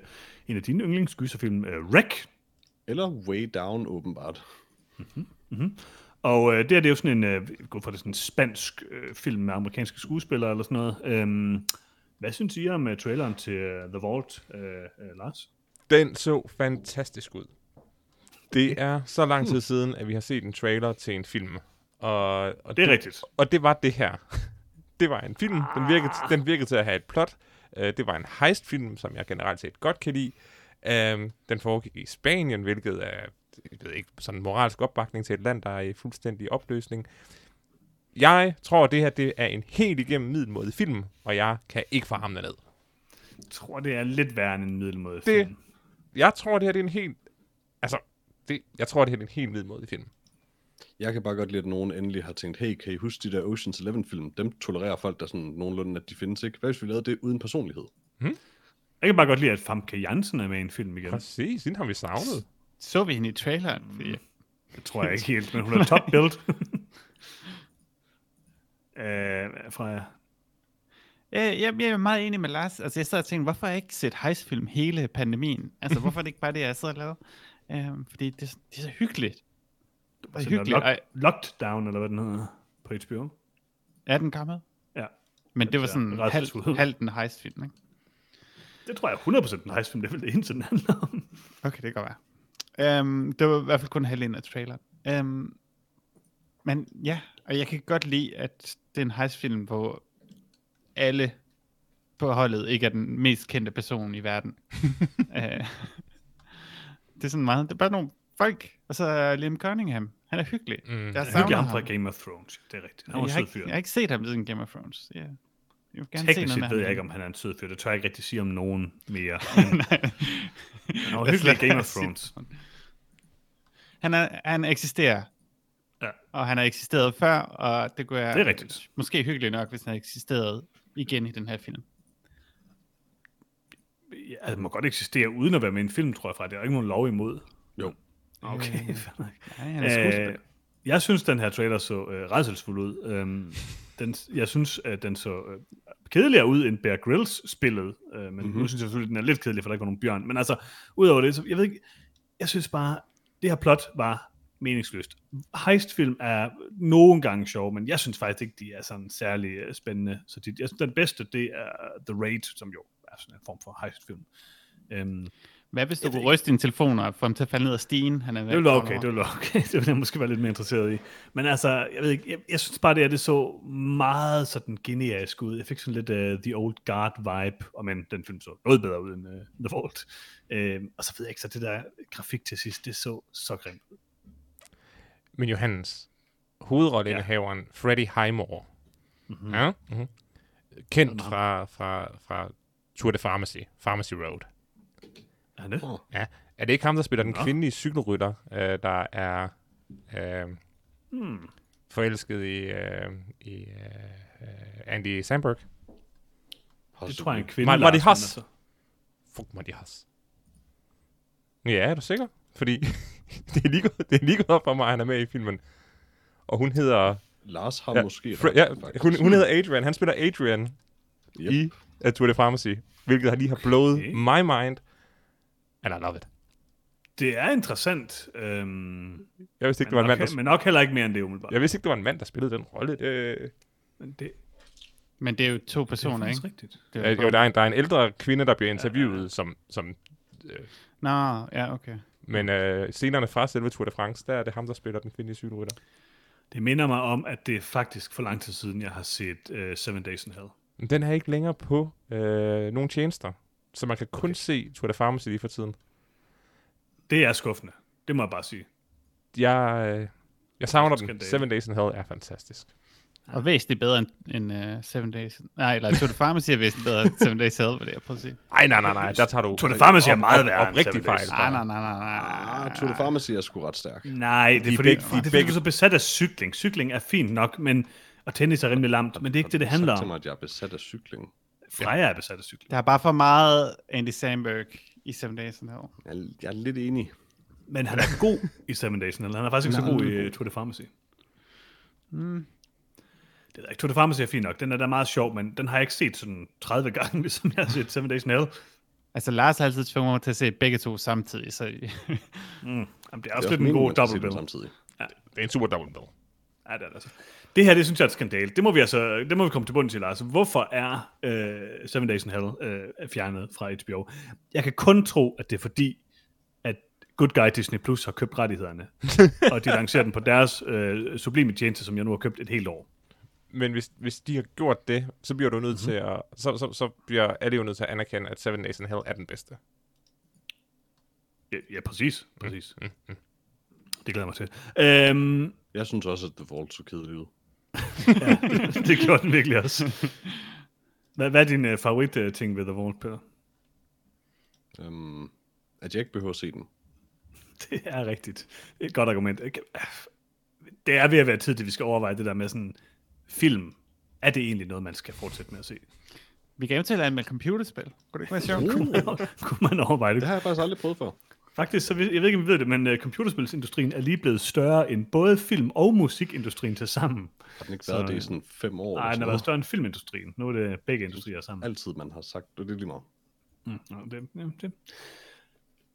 A: en af dine yndlingsgyserfilm, øh, Wreck.
B: Eller Way Down, åbenbart.
A: Og øh, det her det er jo sådan en, øh, jeg går for det er sådan en spansk øh, film med amerikanske skuespillere eller sådan noget. Øhm, hvad synes I om øh, traileren til øh, The Vault, øh, øh, Lars?
D: Den så fantastisk ud. Det er så lang tid siden, at vi har set en trailer til en film. Og, og
A: Det er rigtigt.
D: Og det var det her. Det var en film. Den virkede, den virkede til at have et plot. Øh, det var en heistfilm, som jeg generelt set godt kan lide. Øh, den foregik i Spanien, hvilket er jeg ved ikke, sådan en moralsk opbakning til et land, der er i fuldstændig opløsning. Jeg tror, det her det er en helt igennem middelmodig film, og jeg kan ikke få ham derned.
A: Jeg tror, det er lidt værre end en middelmåde
D: Det,
A: film.
D: jeg tror, det her det er en helt... Altså, det, jeg tror, det her det er en helt middelmodig film.
B: Jeg kan bare godt lide, at nogen endelig har tænkt, hey, kan I huske de der Ocean's Eleven-film? Dem tolererer folk, der sådan nogenlunde, at de findes ikke. Hvad hvis vi lavede det uden personlighed?
A: Jeg kan bare godt lide, at Famke Jansen er med i en film igen.
D: Præcis, den har vi savnet.
C: Så vi hende i traileren. Fordi-
A: Det tror jeg ikke helt, men hun er top build. øh, Freja.
C: Øh, Jeg, jeg er meget enig med Lars. Altså, jeg sad og tænkte, hvorfor har jeg ikke set hejsfilm hele pandemien? Altså, hvorfor er det ikke bare det, jeg sidder og laver? Øhm, fordi det, er sådan- det er så hyggeligt. Det er
A: Altså,
C: hyggeligt.
A: lock,
C: Ej,
A: lockdown, eller hvad den hedder, på HBO.
C: er den gammel?
A: Ja.
C: Men det var sådan
A: Ja, ret
C: halv,
A: utroligt.
C: halv den heistfilm, ikke?
A: Det tror jeg er 100% den nice film, det er vel det eneste, den handler om.
C: Okay, det kan godt være. Øhm, det var i hvert fald kun halvdelen af traileren. Øhm, men ja, og jeg kan godt lide, at det er en heistfilm, hvor alle på holdet ikke er den mest kendte person i verden. øh, det er sådan meget, det er bare nogle folk, og så er Liam Cunningham, han er hyggelig.
D: Mm.
C: Jeg
A: Jeg
C: savner
A: ham
C: ham.
A: fra Game of Thrones, det er rigtigt. Han var
C: Jeg
A: en
C: har,
A: sød
C: ikke,
A: fyr.
C: jeg har ikke set ham siden Game of Thrones. Ja. Jeg vil gerne se
A: Teknisk
C: noget med
A: set ved jeg ikke,
C: ham.
A: om han er en sød fyr. Det tør jeg ikke rigtig sige om nogen mere.
C: Nej.
A: Han var
C: Lad
A: hyggelig
C: os
A: i
C: lade
A: Game of
C: os sige
A: Thrones.
C: det sådan. Han, er, han eksisterer.
A: Ja.
C: Og han har eksisteret før, og det kunne jeg...
A: Det er rigtigt.
C: Måske hyggeligt nok, hvis han eksisterede igen i den her film.
A: Ja, altså, må godt eksistere uden at være med i en film, tror jeg fra. Det er der ikke nogen lov imod.
B: Jo.
A: Okay, fair nok.
C: Ja, Øh, han er skuespiller.
A: Øh, jeg synes, den her trailer så øh, redselsfuld ud. Øhm, den, jeg synes, at den så øh, kedeligere ud end Bear Grylls spillet, øh, men mm-hmm. nu synes jeg selvfølgelig, at den er lidt kedelig, for der ikke var nogen bjørn. Men altså, udover det, så, jeg ved ikke, jeg synes bare, det her plot var meningsløst. Heistfilm er nogle gange sjov, men jeg synes faktisk ikke, de er sådan særlig øh, spændende. Så de, jeg synes, den bedste, det er The Raid, som jo er sådan en form for heistfilm. Øhm,
C: Hvad hvis du kunne ryste din telefon og få ham til at falde ned ad stigen? Han er
A: det ville være okay, det ville være okay. Det ville jeg måske være lidt mere interesseret i. Men altså, jeg ved ikke, jeg, jeg synes bare, det her, det så meget sådan generisk ud. Jeg fik sådan lidt uh, The Old Guard vibe, og men den film så noget bedre ud end uh, The Vault. Uh, og så ved jeg ikke, så det der grafik til sidst, det så så grimt ud.
D: Men Johannes, hovedrolleindehaveren ja. Freddy Highmore,
A: Mhm.
D: mm-hmm. ja? mm-hmm. kendt fra, fra, fra Tour de Pharmacy, Pharmacy Road.
A: Er det?
B: Åh.
D: Ja. Er det ikke ham, der spiller den
A: Nå.
D: kvindelige cykelrytter, øh, der er øh,
A: Hmm.
D: forelsket i, øh, i øh, øh, Andy Samberg?
A: Det tror jeg er en kvinde.
D: Mar- Marty
A: Lars,
D: Hass.
A: men altså.
D: Fuck mig, de has. Ja, er du sikker? Fordi det er lige gået- det er lige gået op for mig, at han er med i filmen. Og hun hedder...
B: Lars har
D: Ja,
B: ja. måske
D: Fre-
B: ret,
D: ja,
B: faktisk.
D: hun, hun hedder Adrian. Han spiller Adrian
B: Yep.
D: i uh, Tour de Pharmacy, hvilket har lige har blowet
A: Okay.
D: my mind. And I love it.
A: Det er interessant. Øhm,
D: Jeg vidste ikke, det var
A: men,
D: en
A: nok,
D: mand, der,
A: men nok heller ikke mere end det, umiddelbart.
D: jeg vidste ikke, det var en mand, der spillede den rolle. Det, øh,
A: Men det,
C: Men det er jo to
A: det er
C: personer,
A: faktisk
C: ikke?
A: rigtigt.
C: Det er
D: øh, jo, der, er en, der er en ældre kvinde, der bliver interviewet,
A: ja.
D: som, som
C: Nå, ja, okay.
D: men øh, scenerne fra selve Tour de France, der er det ham, der spiller den kvindelige cykelrytter.
A: Det minder mig om, at det er faktisk for lang tid siden, jeg har set uh, Seven Days in Hell.
D: Men den er ikke længere på øh, nogen tjenester, så man kan kun okay. se Tour de Pharmacy lige for tiden.
A: Det er skuffende. Det må jeg bare sige.
D: Jeg, øh, jeg savner den.
A: Skandale.
D: Seven Days in Hell er fantastisk.
C: Og væsentligt bedre end, end uh, Seven Days. Nej, eller Tour de Pharmacy er væsentligt bedre end Seven Days Hell, vil jeg prøve at sige.
D: Nej, nej, nej, nej, der tager du...
A: Tour de Pharmacy er meget værre end
D: Oprigtig
A: Seven Days.
D: fejl.
C: Nej, nej, nej, nej, nej.
B: Ah, Tour de Pharmacy er sgu ret stærk.
A: Nej, det er,
D: De er
A: fordi,
D: begge-
A: begge,
D: de
A: det
D: er
A: er fordi,
D: begge-
A: du er så besat af cykling. Cykling er fint nok, men, og tennis er rimelig lamt, men det er ikke det, det handler
B: Sagt til
A: om.
B: mig, at jeg er besat af cykling.
A: Freja er besat af cykling.
C: Der er bare for meget Andy Samberg i Seven Days in Hell.
B: Jeg, er- jeg er lidt enig.
A: Men han er god i Seven Days, in Hell. han er faktisk ikke så
B: Nej,
A: god
B: han er
A: i
B: god.
A: uh, Tour de Pharmacy. Mm. Det er ikke. Tour de Pharmacy er fint nok. Den er da meget sjov, men den har jeg ikke set sådan 30 gange, ligesom jeg har set Seven Days in Hell.
C: Altså, Lars har altid tvunget mig til at se begge to samtidig, så...
A: Jamen, det er også lidt en god dobbeltbill.
B: Samtidig.
D: Det er en super double bill.
A: Ja, det er det altså. Det her, det synes jeg er et skandale. Det må vi altså, det må vi komme til bunden til, Lars. Hvorfor er øh, Seven Days in Hell øh, fjernet fra HBO? Jeg kan kun tro, at det er fordi, at Good Guy Disney Plus har købt rettighederne, og de lancerer den på deres øh, sublime tjeneste, som jeg nu har købt et helt år.
D: Men hvis, hvis de har gjort det, så bliver du nødt
A: Mhm.
D: mm-hmm. til at... Så, så, så bliver alle jo nødt til at anerkende, at Seven Days in Hell er den bedste.
A: Ja, ja præcis. præcis. Det glæder jeg mig til. Øhm,
B: Jeg synes også, at The Vault så kedelig ud.
A: det gjorde den virkelig også. Hvad, hvad er din øh, favorit øh, ting ved The Vault, Peter?
B: Øhm, at jeg ikke behøver at se den.
A: Det er rigtigt. Det er Et godt argument. Jeg kan- Det er ved at være tid til, at vi skal overveje det der med sådan film. Er det egentlig noget, man skal fortsætte med at se?
C: Vi kan eventuelt anmelde computerspil. Kunne det ikke være sjovt?
A: Kunne man, kunne man overveje
B: Uh, Det
A: det?
B: har jeg faktisk aldrig prøvet før.
A: Faktisk, så vi, jeg ved ikke, om vi ved det, men uh, computerspilsindustrien er lige blevet større end både film- og musikindustrien til sammen.
B: Har den ikke været
A: Så-
B: det i sådan fem år?
A: Nej, den
B: eller
A: har været
B: sådan
A: større end filmindustrien. Nu er det begge industrier sammen.
B: noget? Altid, man har sagt. Det er lige meget.
A: Mm. Nå, det, ja, det.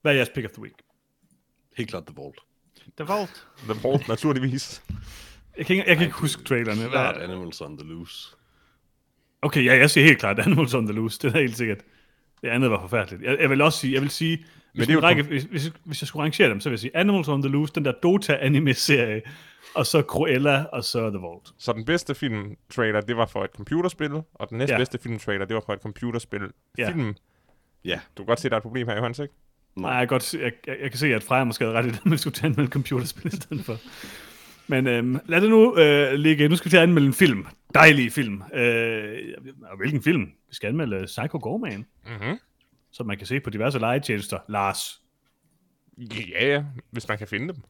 A: Hvad er jeres pick of the week?
B: Helt klart The Vault.
C: The Vault.
D: The Vault, naturligvis.
A: Jeg kan ikke, jeg kan ikke huske trailerne.
B: Klart
A: Hvad-
B: Animals on the Loose.
A: Okay, ja, jeg siger helt klart Animals on the Loose. Det er helt sikkert. Det andet var forfærdeligt. Jeg, jeg vil også sige, jeg vil sige, hvis,
D: det er
A: det
D: jo
A: række, hvis, hvis, hvis, jeg skulle rangere dem, så vil jeg sige Animals on the Loose, den der Dota-anime-serie, og så Cruella, og så The Vault.
D: Så den bedste filmtrailer, det var for et computerspil, og den næstbedste ja. filmtrailer, det var for et computerspil.
A: Ja.
D: Film.
B: Ja,
D: Du kan godt se, der er et problem her, Johans, ikke?
A: Nej, jeg, kan godt, se- jeg, jeg, jeg kan se, at Freja måske havde ret i det, at man skulle tage med et computerspil i stedet for. Men øhm, lad det nu øh, ligge. Nu skal vi til at anmelde en film. Dejlig film. Øh, og hvilken film? Vi skal anmelde Psycho Gorman,
D: Mm-hmm.
A: som man kan se på diverse legetjenester. Lars,
D: Ja, ja, hvis man kan finde dem.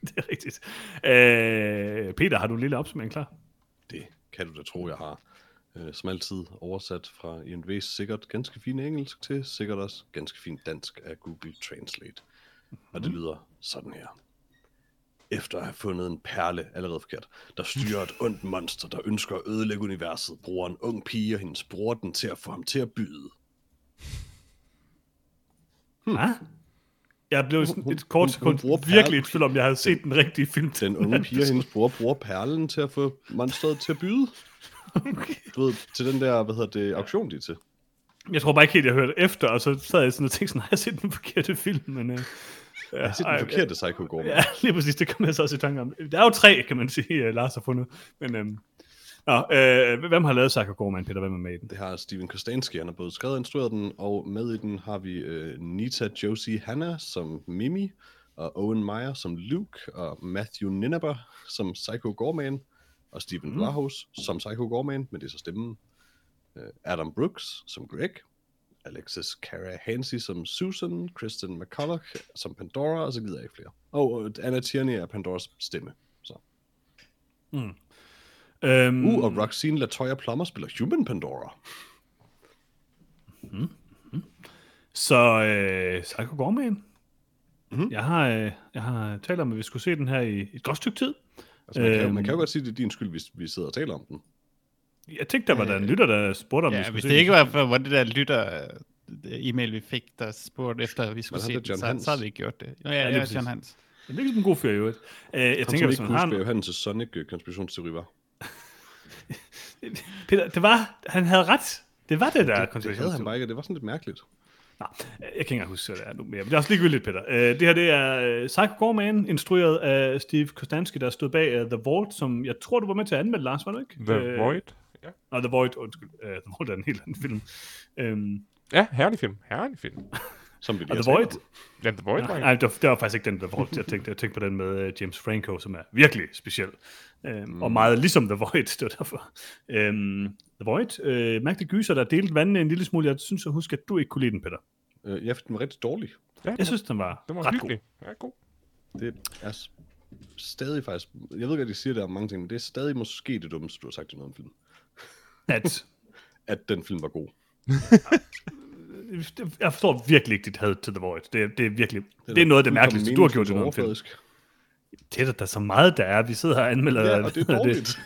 A: det er rigtigt. Øh, Peter, har du en lille opsummering klar?
B: det kan du da tro, jeg har. Øh, som altid oversat fra IMDb's sikkert ganske fine engelsk til sikkert også ganske fint dansk af Google Translate. Og
A: Mhm.
B: det lyder sådan her. Efter at have fundet en perle, allerede forkert, der styrer et ondt monster, der ønsker at ødelægge universet, bruger en ung pige og hendes bror den til at få ham til at byde.
A: Hvad? Jeg blev sådan
B: Hmm. hun-
A: et kort
B: hun- hun
A: sekund
B: bruger perlen.
A: virkelig i tvivl om, jeg havde set den rigtige film.
B: Den unge pige og hendes bror bruger perlen til at få monsteret til at byde. Du ved, til den der, hvad hedder det, auktion de er til.
A: Jeg tror bare ikke helt, jeg hørte efter, og så sad jeg sådan og tænkte sådan, har jeg set den forkerte film? Men, øh,
B: Jeg har set
A: ej,
B: den forkerte Psycho Gorman.
A: Ja, lige præcis, det kom jeg så også i tanke om. Der er jo tre, kan man sige, øh, Lars har fundet. Men, øhm, nå, øh, hvem har lavet Sacker Gorman, Peter? Hvem er med i den?
B: Det har Steven Kostansky, han har både skrevet og instrueret den, og med i den har vi øh, Nita Josie Hanna som Mimi, og Owen Meyer som Luke, og Matthew Ninnaber som Psycho Gorman, og Steven mm. Warhouse som Psycho Gorman, men det er så stemmen. Øh, Adam Brooks som Greg, Alexis Carahansi som Susan, Kristen McCulloch som Pandora, og så gider jeg ikke flere. Og øh, Anna Tierney er Pandoras stemme. Så.
A: Øhm,
B: Uh, og Roxine Latoya Plummer spiller Human Pandora.
A: Så øh, Psycho Gorman.
B: Mhm.
A: Mm-hmm. Jeg, har, øh, jeg har talt om, at vi skulle se den her i et godt stykke tid.
B: Altså, man, kan, jo-
A: Øhm.
B: man kan jo godt sige, at det er din skyld, hvis vi sidder og taler om den.
A: Jeg tænkte, der var der en lytter, der spurgte, om vi
C: Ja,
A: skulle
C: hvis
A: se
C: det
A: den.
C: ikke var for hvor det der lytter øh, e-mail, vi fik, der spurgte efter, at vi skulle
B: Men han
C: se
B: er
C: den,
B: John
C: så,
B: Hans.
C: så havde vi ikke gjort det. Nå, ja,
A: lige
C: ja,
A: præcis.
C: John Hans.
A: Det er ikke sådan en god fyr i øvrigt. Øh, jeg
B: Jeg tænker,
A: tænker, hvis man
B: ikke huske,
A: har...
B: hvad
A: en-
B: Johannes' øh, Sonic-konspirationsteori var.
A: Peter, det var... Han havde ret. Det var det, der
B: Det havde han bare ikke, og det var sådan lidt mærkeligt.
A: Nej, jeg kan ikke engang huske, hvad det er nu mere. Men det er også ligegyldigt, Peter. Uh, det her det er uh, Psycho Gorman, instrueret af Steve Kostansky, der stod bag uh, The Vault, som jeg tror, du var med til at anmelde, Lars, var du ikke?
D: The
A: Øh,
D: Void. Ja.
A: Nej, The Void, undskyld. Uh, The Void er en helt anden film. Um,
D: ja, herlig film. Herlig film.
B: Som vi lige
A: og
B: har
A: The
B: talt
A: Void,
B: om.
D: Ja, The Void var
A: Nej,
D: en-
A: nej, det var, det var faktisk ikke den, der var jeg tænkte. Jeg tænkte på den med øh, James Franco, som er virkelig speciel. Øhm, mm. Og meget ligesom The Void, det var derfor. Øhm, The Void, øh, mærkelig gyser, der delte vandene en lille smule. Jeg synes, jeg husker, at du ikke kunne lide den, Peter.
B: Øh, ja, for den var rigtig dårlig.
D: Ja,
A: Jeg
D: den var-
A: synes, den var,
D: den var
A: ret
D: hyggelig. Ja, god.
B: Det er s- stadig faktisk... Jeg ved godt, at de siger det om mange ting, men det er stadig måske det dummeste, du har sagt i noget om film.
A: god. At,
B: At den film var god.
A: øh, jeg forstår virkelig ikke dit had til The Void. Det, er- det er virkelig det er, det er noget af det mærkeligste, du har gjort i noget film. Øh, Det er der, der er så meget, der er. Vi sidder her og anmelder...
B: Ja, og det er dårligt.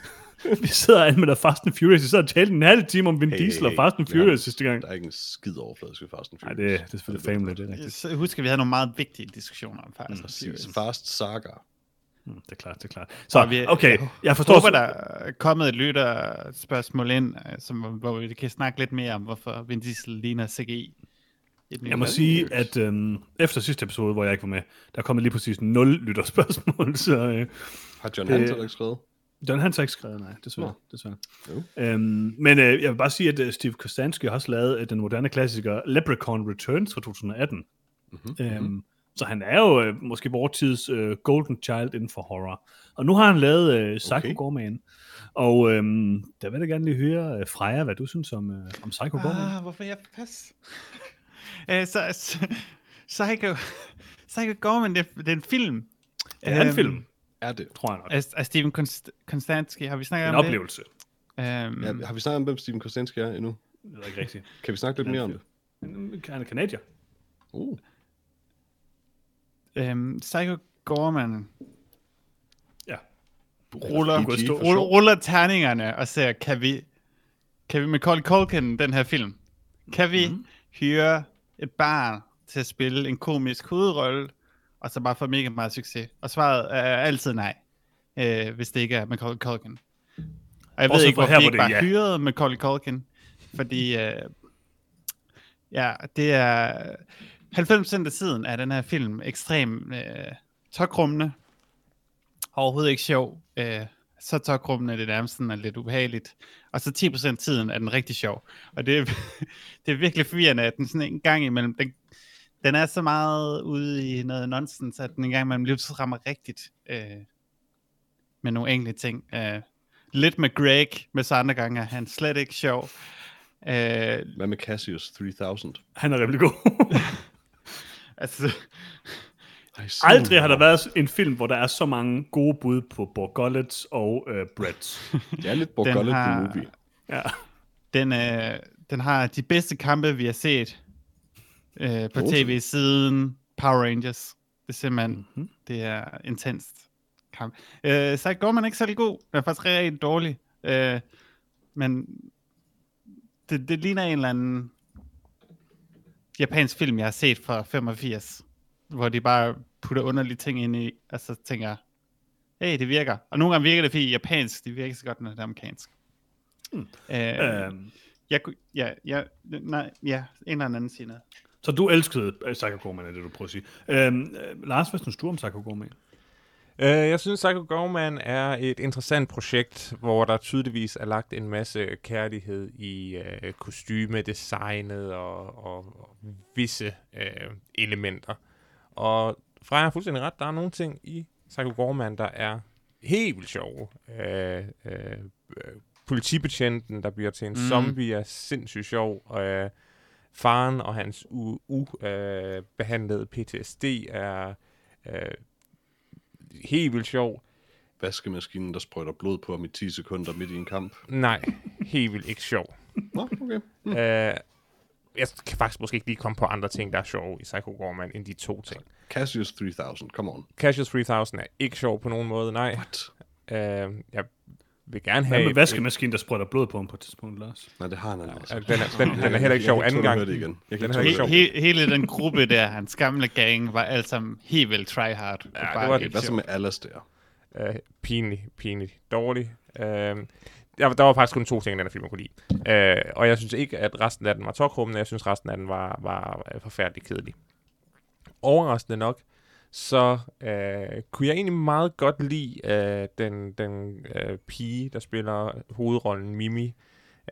A: vi sidder og anmelder Fast and Furious. Vi sidder og talte en halv time om Vin hey, Diesel og Fast and
B: vi har-
A: Furious sidste gang.
B: Der er ikke en skid overfladisk ved Fast and
A: Nej,
B: Furious.
A: det, det er selvfølgelig family, det er rigtigt.
C: Så husk, at vi havde nogle meget vigtige diskussioner om faktisk.
B: Præcis. Fast Saga.
A: Mm, Det er klart, det er klart.
C: Og
A: Så,
C: vi-
A: okay, jeg
C: Jeg
A: forstår...
C: håber, der er kommet et lytterspørgsmål ind, øh, som, hvor vi kan snakke lidt mere om, hvorfor Vin Diesel ligner CGI. i den nye
A: Jeg må
C: version.
A: sige, at øhm, efter sidste episode, hvor jeg ikke var med, der kom lige præcis 0 lytterspørgsmål, så øh,
B: Har John
A: Det-
B: Hansen ikke skrevet?
A: John han har ikke skrevet, nej, desværre.
B: Nå.
A: desværre.
B: Jo.
A: Øhm, men øh, jeg vil bare sige, at øh, Steve Kostansky har også lavet øh, den moderne klassiker Leprechaun Returns fra 2018.
B: Mhm.
A: Øhm, Så han er jo øh, måske vores tids øh, golden child inden for horror. Og nu har han lavet øh, Psycho
B: Okay.
A: Gorman. Og øhm, der vil jeg da gerne lige høre, øh, Freja, hvad du synes om, øh, om Psycho Gorman.
C: Ah, hvorfor jeg pas? Æ, så, så, Psycho, Psycho Gorman, det, det er en film.
A: Det er en
C: Øhm,
A: film,
B: Er det?
A: tror jeg nok.
C: Af, af Steven Konst- Konstantski, har vi snakket
A: En
C: om
A: oplevelse.
C: det? Øhm,
B: Ja, har vi snakket om, hvem Steven Kostanski er endnu?
A: Det er ikke rigtigt.
B: Kan vi snakke lidt mere om det?
A: Han er kanadier.
B: Uh,
C: øhm, Psycho Gorman
A: Ja.
C: ruller,
B: E
A: Du kan stå-
C: ruller, ruller terningerne og ser, kan vi, kan vi med Cold Culkin den her film? Kan vi
A: Mhm.
C: mm-hmm. hyre et barn til at spille en komisk hovedrolle, og så bare få mega meget succes? Og svaret er altid nej, øh, hvis det ikke er Macaulay Culkin. Og jeg ved
A: Bortset
C: ikke,
A: fra
C: hvorfor
A: her,
C: de
A: hvor
C: ikke
A: det er
C: bare
A: ja.
C: hyrede Macaulay Culkin, fordi øh, ja, det er 90% af tiden er den her film ekstrem øh, tokrummende, overhovedet ikke sjov. Øh, så tokrummende er det nærmest sådan er lidt ubehageligt. Og så 10% af tiden er den rigtig sjov. Og det er, det er virkelig forvirrende, at den sådan en gang imellem, den, den er så meget ude i noget nonsens, at den en gang imellem lige så rammer rigtigt øh, med nogle enkelte ting. Øh, lidt med Greg, men så andre gange er han slet ikke sjov. Øh,
B: hvad med Cassius 3000?
A: Han er rimelig god.
C: altså,
B: Ej,
A: Aldrig har der været en film, hvor der er så mange gode bud på Borgollets og øh, Brads.
B: Det er lidt Borgollet
C: har-
B: har... movie.
A: Ja.
C: Den, øh, den har de bedste kampe, vi har set øh, på
B: Nogensinde.
C: tv siden Power Rangers. Det er simpelthen, mm-hmm. det er intenst kamp. Øh, så går man ikke særlig god. Den er faktisk rigtig dårlig. Øh, men det, det ligner en eller anden japansk film, jeg har set fra 85, hvor de bare putter underlige ting ind i, og så tænker jeg, hey, det virker. Og nogle gange virker det, fordi japansk, det virker ikke så godt, når det er amerikansk. Mm. Øh,
A: øhm,
C: jeg kunne, ja, ja, nej, ja, en eller anden siger noget.
A: så du elskede øh, Psycho Gorman, er det du prøver at sige. Øhm, øh, Lars, hvad synes du om Psycho Gorman?
D: Øh, jeg synes, Psycho Gorman er et interessant projekt, hvor der tydeligvis er lagt en masse kærlighed i øh, kostyme, designet og, og, og visse øh, elementer. Og Freja har fuldstændig ret, der er nogle ting i Psycho Gorman, der er helt vildt sjove. Øh, øh, øh, politibetjenten, der bliver til en mm. zombie, er sindssygt sjov. Og, øh, faren og hans ubehandlede uh, PTSD er uh, helt vildt sjov.
B: Vaskemaskinen, der sprøjter blod på ham i 10 sekunder midt i en kamp.
D: Nej, helt vildt ikke sjov.
B: Nå, okay.
D: Uh, jeg kan faktisk måske ikke lige komme på andre ting, der er sjove i Psycho Gorman, end de to ting.
B: Cassius 3000, come on.
D: Cassius 3000 er ikke sjov på nogen måde, nej.
B: What?
D: Uh, jeg vil gerne
A: Hvad
D: have...
A: med vaskemaskinen, der sprøjter blod på ham på et tidspunkt, Lars?
B: Nej, det har han allerede.
D: Øh, den, er, den, den er heller ikke sjov
B: Jeg kan
D: anden
B: ikke tåle at
D: gang.
B: høre det igen. Jeg kan
D: Den
B: ikke
D: er
B: tåle
D: ikke
B: at
D: sjov.
B: høre
C: He- hele den gruppe der, hans gamle gang, var alt sammen helt vildt tryhard.
D: Ja, det var-
B: Hvad så med Alastair?
D: Øh, pinlig, pinlig, dårlig. Øh, der, der var faktisk kun to ting, i den her film, jeg kunne lide. Øh, og jeg synes ikke, at resten af den var tokrummende. Jeg synes, resten af den var, var øh, forfærdelig kedelig. Overraskende nok, så øh, kunne jeg egentlig meget godt lide øh, den, den øh, pige, der spiller hovedrollen Mimi.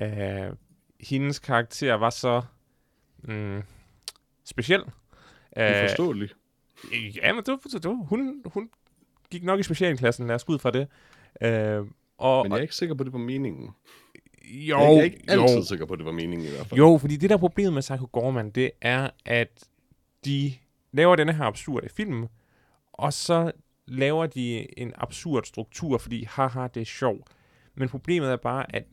D: Øh, hendes karakter var så mm, speciel. Øh,
B: Uforståelig.
D: Øh, Ja, men det var, det var, hun, hun gik nok i specialklassen, lad os gå ud fra det. Øh, og,
B: Men jeg er ikke sikker på, at det var meningen.
D: jo,
B: Jeg er ikke altid
D: jo,
B: sikker på, at det var meningen i hvert fald.
D: jo, fordi det der problem med Psycho Gorman, det er, at de laver denne her absurde film, og så laver de en absurd struktur, fordi haha, det er sjovt. Men problemet er bare, at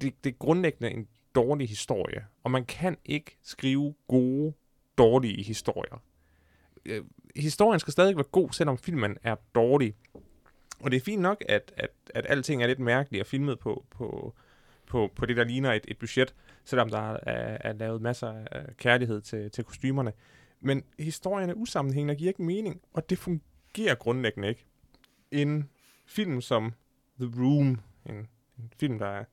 D: det, det er grundlæggende en dårlig historie, og man kan ikke skrive gode, dårlige historier. Øh, historien skal stadig være god, selvom filmen er dårlig. Og det er fint nok, at, at, at alting er lidt mærkeligt og filmet på, på, på, på det, der ligner et, et budget, selvom der er, er, er lavet masser af kærlighed til, til kostymerne. Men historien er usammenhængende og giver ikke mening, og det fungerer grundlæggende ikke. En film som The Room, en, en film, der er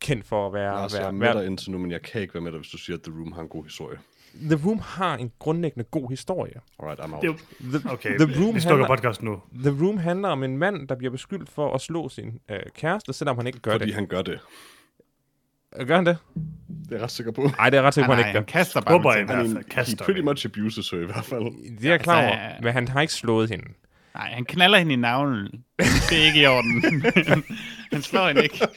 D: kendt for at være...
B: Lars, jeg er
D: være,
B: med
D: være
B: dig indtil nu, men jeg kan ikke være med dig, hvis du siger, at The Room har en god historie.
D: The Room har en grundlæggende god historie.
B: Alright, I'm out.
A: Det er jo,
D: The,
A: okay,
D: The Room
A: vi slukker
D: handler-
A: podcasten nu.
D: The Room handler om en mand, der bliver beskyldt for at slå sin øh, kæreste, selvom han ikke gør
B: Fordi
D: det.
B: han gør det.
D: Han... Gør han det?
B: Det er jeg ret sikker på.
D: Nej, det er jeg ret sikker på,
C: Nej,
D: han
C: nej,
D: ikke
C: han
D: gør.
C: kaster bare
A: Skubber
C: med
A: i
B: I
A: hvert
B: mean,
A: fald. Kaster.
B: he pretty
A: hende.
B: much abuses her i hvert fald.
D: Det er jeg klar
C: Altså,
D: over,
C: øh,
D: men han har ikke slået hende.
C: ting. Nej, han knaller hende i navlen. Det er ikke i orden. han slår hende ikke.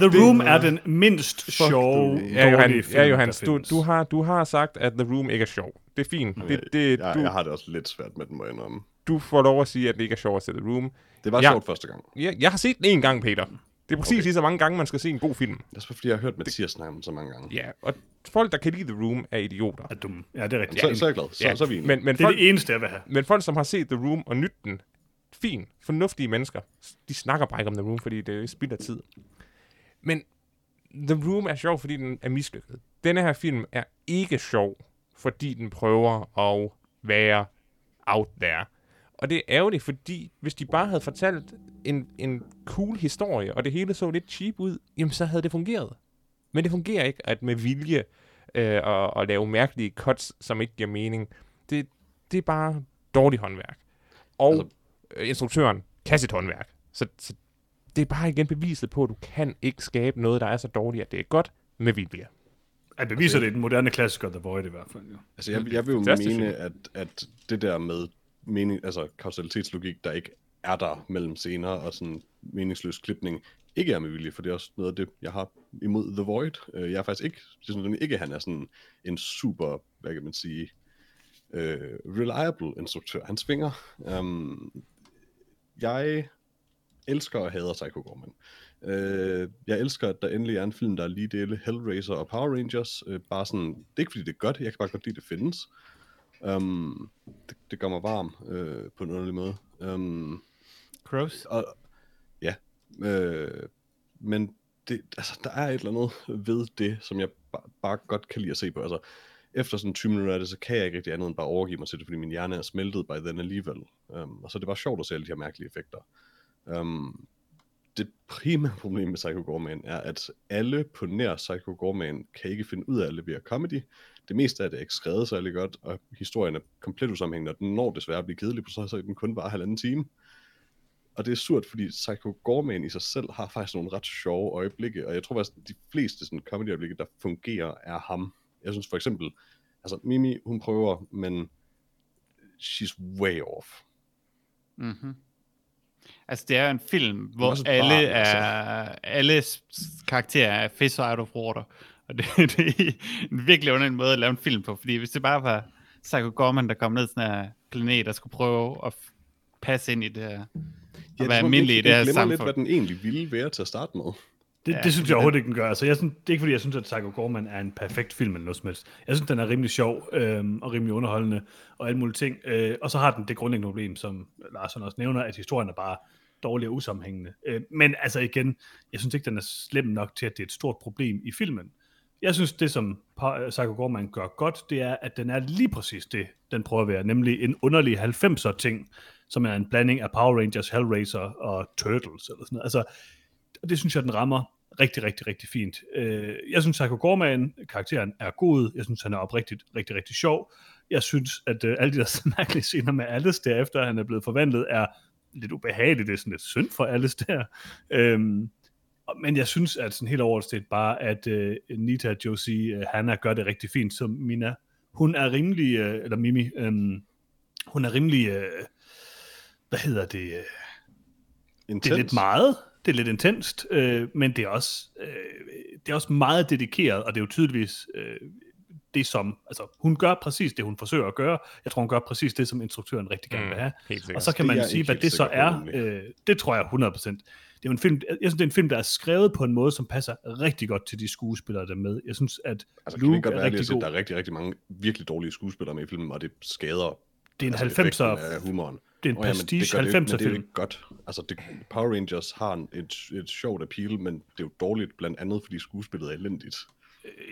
A: The Room er den mindst
B: the
A: sjove,
B: Room.
D: Ja, Johan,
A: dårlige film,
D: ja, Johan
A: der
D: du,
A: findes.
D: du, har, du har sagt, at The Room ikke er sjov. Det er fint. Det, det,
B: jeg,
D: du,
B: jeg har det også lidt svært med den, må jeg indrømme.
D: du får lov at sige, at det ikke er sjov at se The Room.
B: Det var
D: Ja.
B: ja. sjovt første gang.
D: Ja, jeg har set den én gang, Peter. Det er præcis okay. lige så mange gange, man skal se en god film.
B: Det er bare, fordi jeg har hørt Mathias snakke om det så mange gange.
D: Ja, og folk, der kan lide The Room, er idioter.
A: Er dum. Ja, det er rigtigt.
B: Så, så er jeg glad. Så,
D: Ja,
B: så er vi enige.
D: men, men
A: Det er
D: folk,
A: det eneste, jeg vil have.
D: Men folk, som har set The Room og nyt den, fint, fornuftige mennesker, de snakker bare ikke om The Room, fordi det er spild af tid. Men The Room er sjov, fordi den er mislykket. Denne her film er ikke sjov, fordi den prøver at være out there. Og det er ærgerligt, fordi hvis de bare havde fortalt en, en cool historie, og det hele så lidt cheap ud, jamen så havde det fungeret. Men det fungerer ikke, at med vilje øh, og, og lave mærkelige cuts, som ikke giver mening. Det, det er bare dårligt håndværk. Og altså,
B: Altså-
D: instruktøren kan sit håndværk. Så, så det er bare igen beviset på, at du kan ikke skabe noget, der er så dårligt, at det er godt med vilje.
A: Jeg beviser det i den moderne klassiker The Void i hvert fald. Jo.
B: Altså, jeg, jeg vil jo
D: Fantastisk,
B: mene, at, at det der med mening, altså kausaliteslogik, der ikke er der mellem scener og sådan meningsløs klipning, ikke er med vilje, for det er også noget af det, jeg har imod The Void. Øh, Jeg er faktisk ikke, jeg synes nemlig ikke, at han er sådan en super, hvad kan man sige, øh, reliable instruktør. Han svinger. Um, jeg elsker og hader Psycho Gorman. Øh, jeg elsker, at der endelig er en film, der er lige dele Hellraiser og Power Rangers. Øh, bare sådan, det er ikke fordi det er godt, jeg kan bare godt lide, det findes. Um, det, det gør mig varm øh, på en underlig måde. Um,
C: Gross.
B: og, ja, øh, men det, altså, der er et eller andet ved det, som jeg ba- bare godt kan lide at se på. Altså, efter sådan 20 minutter af det, så kan jeg ikke rigtig andet end bare overgive mig til det, fordi min hjerne er smeltet by then alligevel. Um, og så er det bare sjovt at se alle de her mærkelige effekter. Um, det primære problem med Psycho Gorman er, at alle på nær Psycho Gorman kan ikke finde ud af at levere comedy. Det meste af det er ikke skrevet særlig godt, og historien er komplet usammenhængende, og den når desværre at blive kedelig, på så så den kun var halvanden time. Og det er surt, fordi Psycho Gorman i sig selv har faktisk nogle ret sjove øjeblikke, og jeg tror faktisk, at de fleste sådan comedy-øjeblikke, der fungerer, er ham. Jeg synes for eksempel, altså Mimi, hun prøver, men she's way off.
C: Mm-hmm. Altså, det er jo en film, hvor
B: også et
C: alle,
B: barn, altså.
C: er, alle s- karakterer er fish out of water. Og det, det er en virkelig underlig måde at lave en film på, fordi hvis det bare var Psycho Gorman, der kom ned til den her planet og skulle prøve at f- passe ind i det her, og ja, være
B: som om
C: almindelig
B: den-
C: i det her
B: den glemmer lidt,
C: samfund.
B: hvad den egentlig ville være til at starte med.
A: Det,
C: Ja,
A: ja, det synes
C: fordi
A: jeg overhovedet ikke, den gør. Altså, jeg synes, det er ikke, fordi jeg synes, at Psycho Gorman er en perfekt film eller noget som helst. Jeg synes, den er rimelig sjov øhm, og rimelig underholdende og alle mulige ting. Øh, og så har den det grundlæggende problem, som Larsen også nævner, at historien er bare dårlig og usammenhængende. Øh, men altså igen, jeg synes ikke, den er slem nok til, at det er et stort problem i filmen. Jeg synes, det som Pa- øh, Psycho Gorman gør godt, det er, at den er lige præcis det, den prøver at være, nemlig en underlig 90'er ting, som er en blanding af Power Rangers, Hellraiser og Turtles eller sådan noget. Altså, og det synes jeg, den rammer rigtig, rigtig, rigtig fint. Øh, jeg synes, Psycho Gorman, karakteren, er god. Jeg synes, han er oprigtigt, rigtig, rigtig sjov. Jeg synes, at øh, alle de der mærkelige scener med Alice, derefter han er blevet forvandlet, er lidt ubehageligt. Det er sådan lidt synd for Alice der. Øhm, og- men jeg synes, at sådan helt overordnet set bare, at øh, Nita Josie, øh, Hanna gør det rigtig fint som Mina. Hun er rimelig, øh, eller Mimi, øh, hun er rimelig, øh, hvad hedder det, øh, det er
B: Intens.
A: lidt meget, det er lidt intenst, øh, men det er, også, øh, det er også meget dedikeret, og det er jo tydeligvis øh, det, som... Altså, hun gør præcis det, hun forsøger at gøre. Jeg tror, hun gør præcis det, som instruktøren rigtig gerne vil have.
D: Mm, helt sikkert.
A: og så kan
B: Mm, Det er
A: man
B: jeg
A: sige,
B: ikke
A: hvad
B: helt
A: det så
B: sikker
A: er.
B: på,
A: Øh, det tror jeg 100%. Det er jo en film, jeg synes, det er en film, der er skrevet på en måde, som passer rigtig godt til de skuespillere, der er med. Jeg synes, at
B: Altså, kan det
A: Luke
B: ikke godt
A: er
B: være, ærlig at
A: rigtig
B: sige,
A: god.
B: at der er rigtig, rigtig mange virkelig dårlige skuespillere med i filmen, og det skader
A: Det er en
B: altså, effekten
A: 90'er
B: af humoren.
A: det er en
B: Åh, jamen,
A: pastiche
B: gør det jo ikke, men Det er jo
A: 90'er-film.
B: ikke godt. Altså, det, Power Rangers har en- et, et sjovt appeal, men det er jo dårligt, blandt andet fordi skuespillet er elendigt.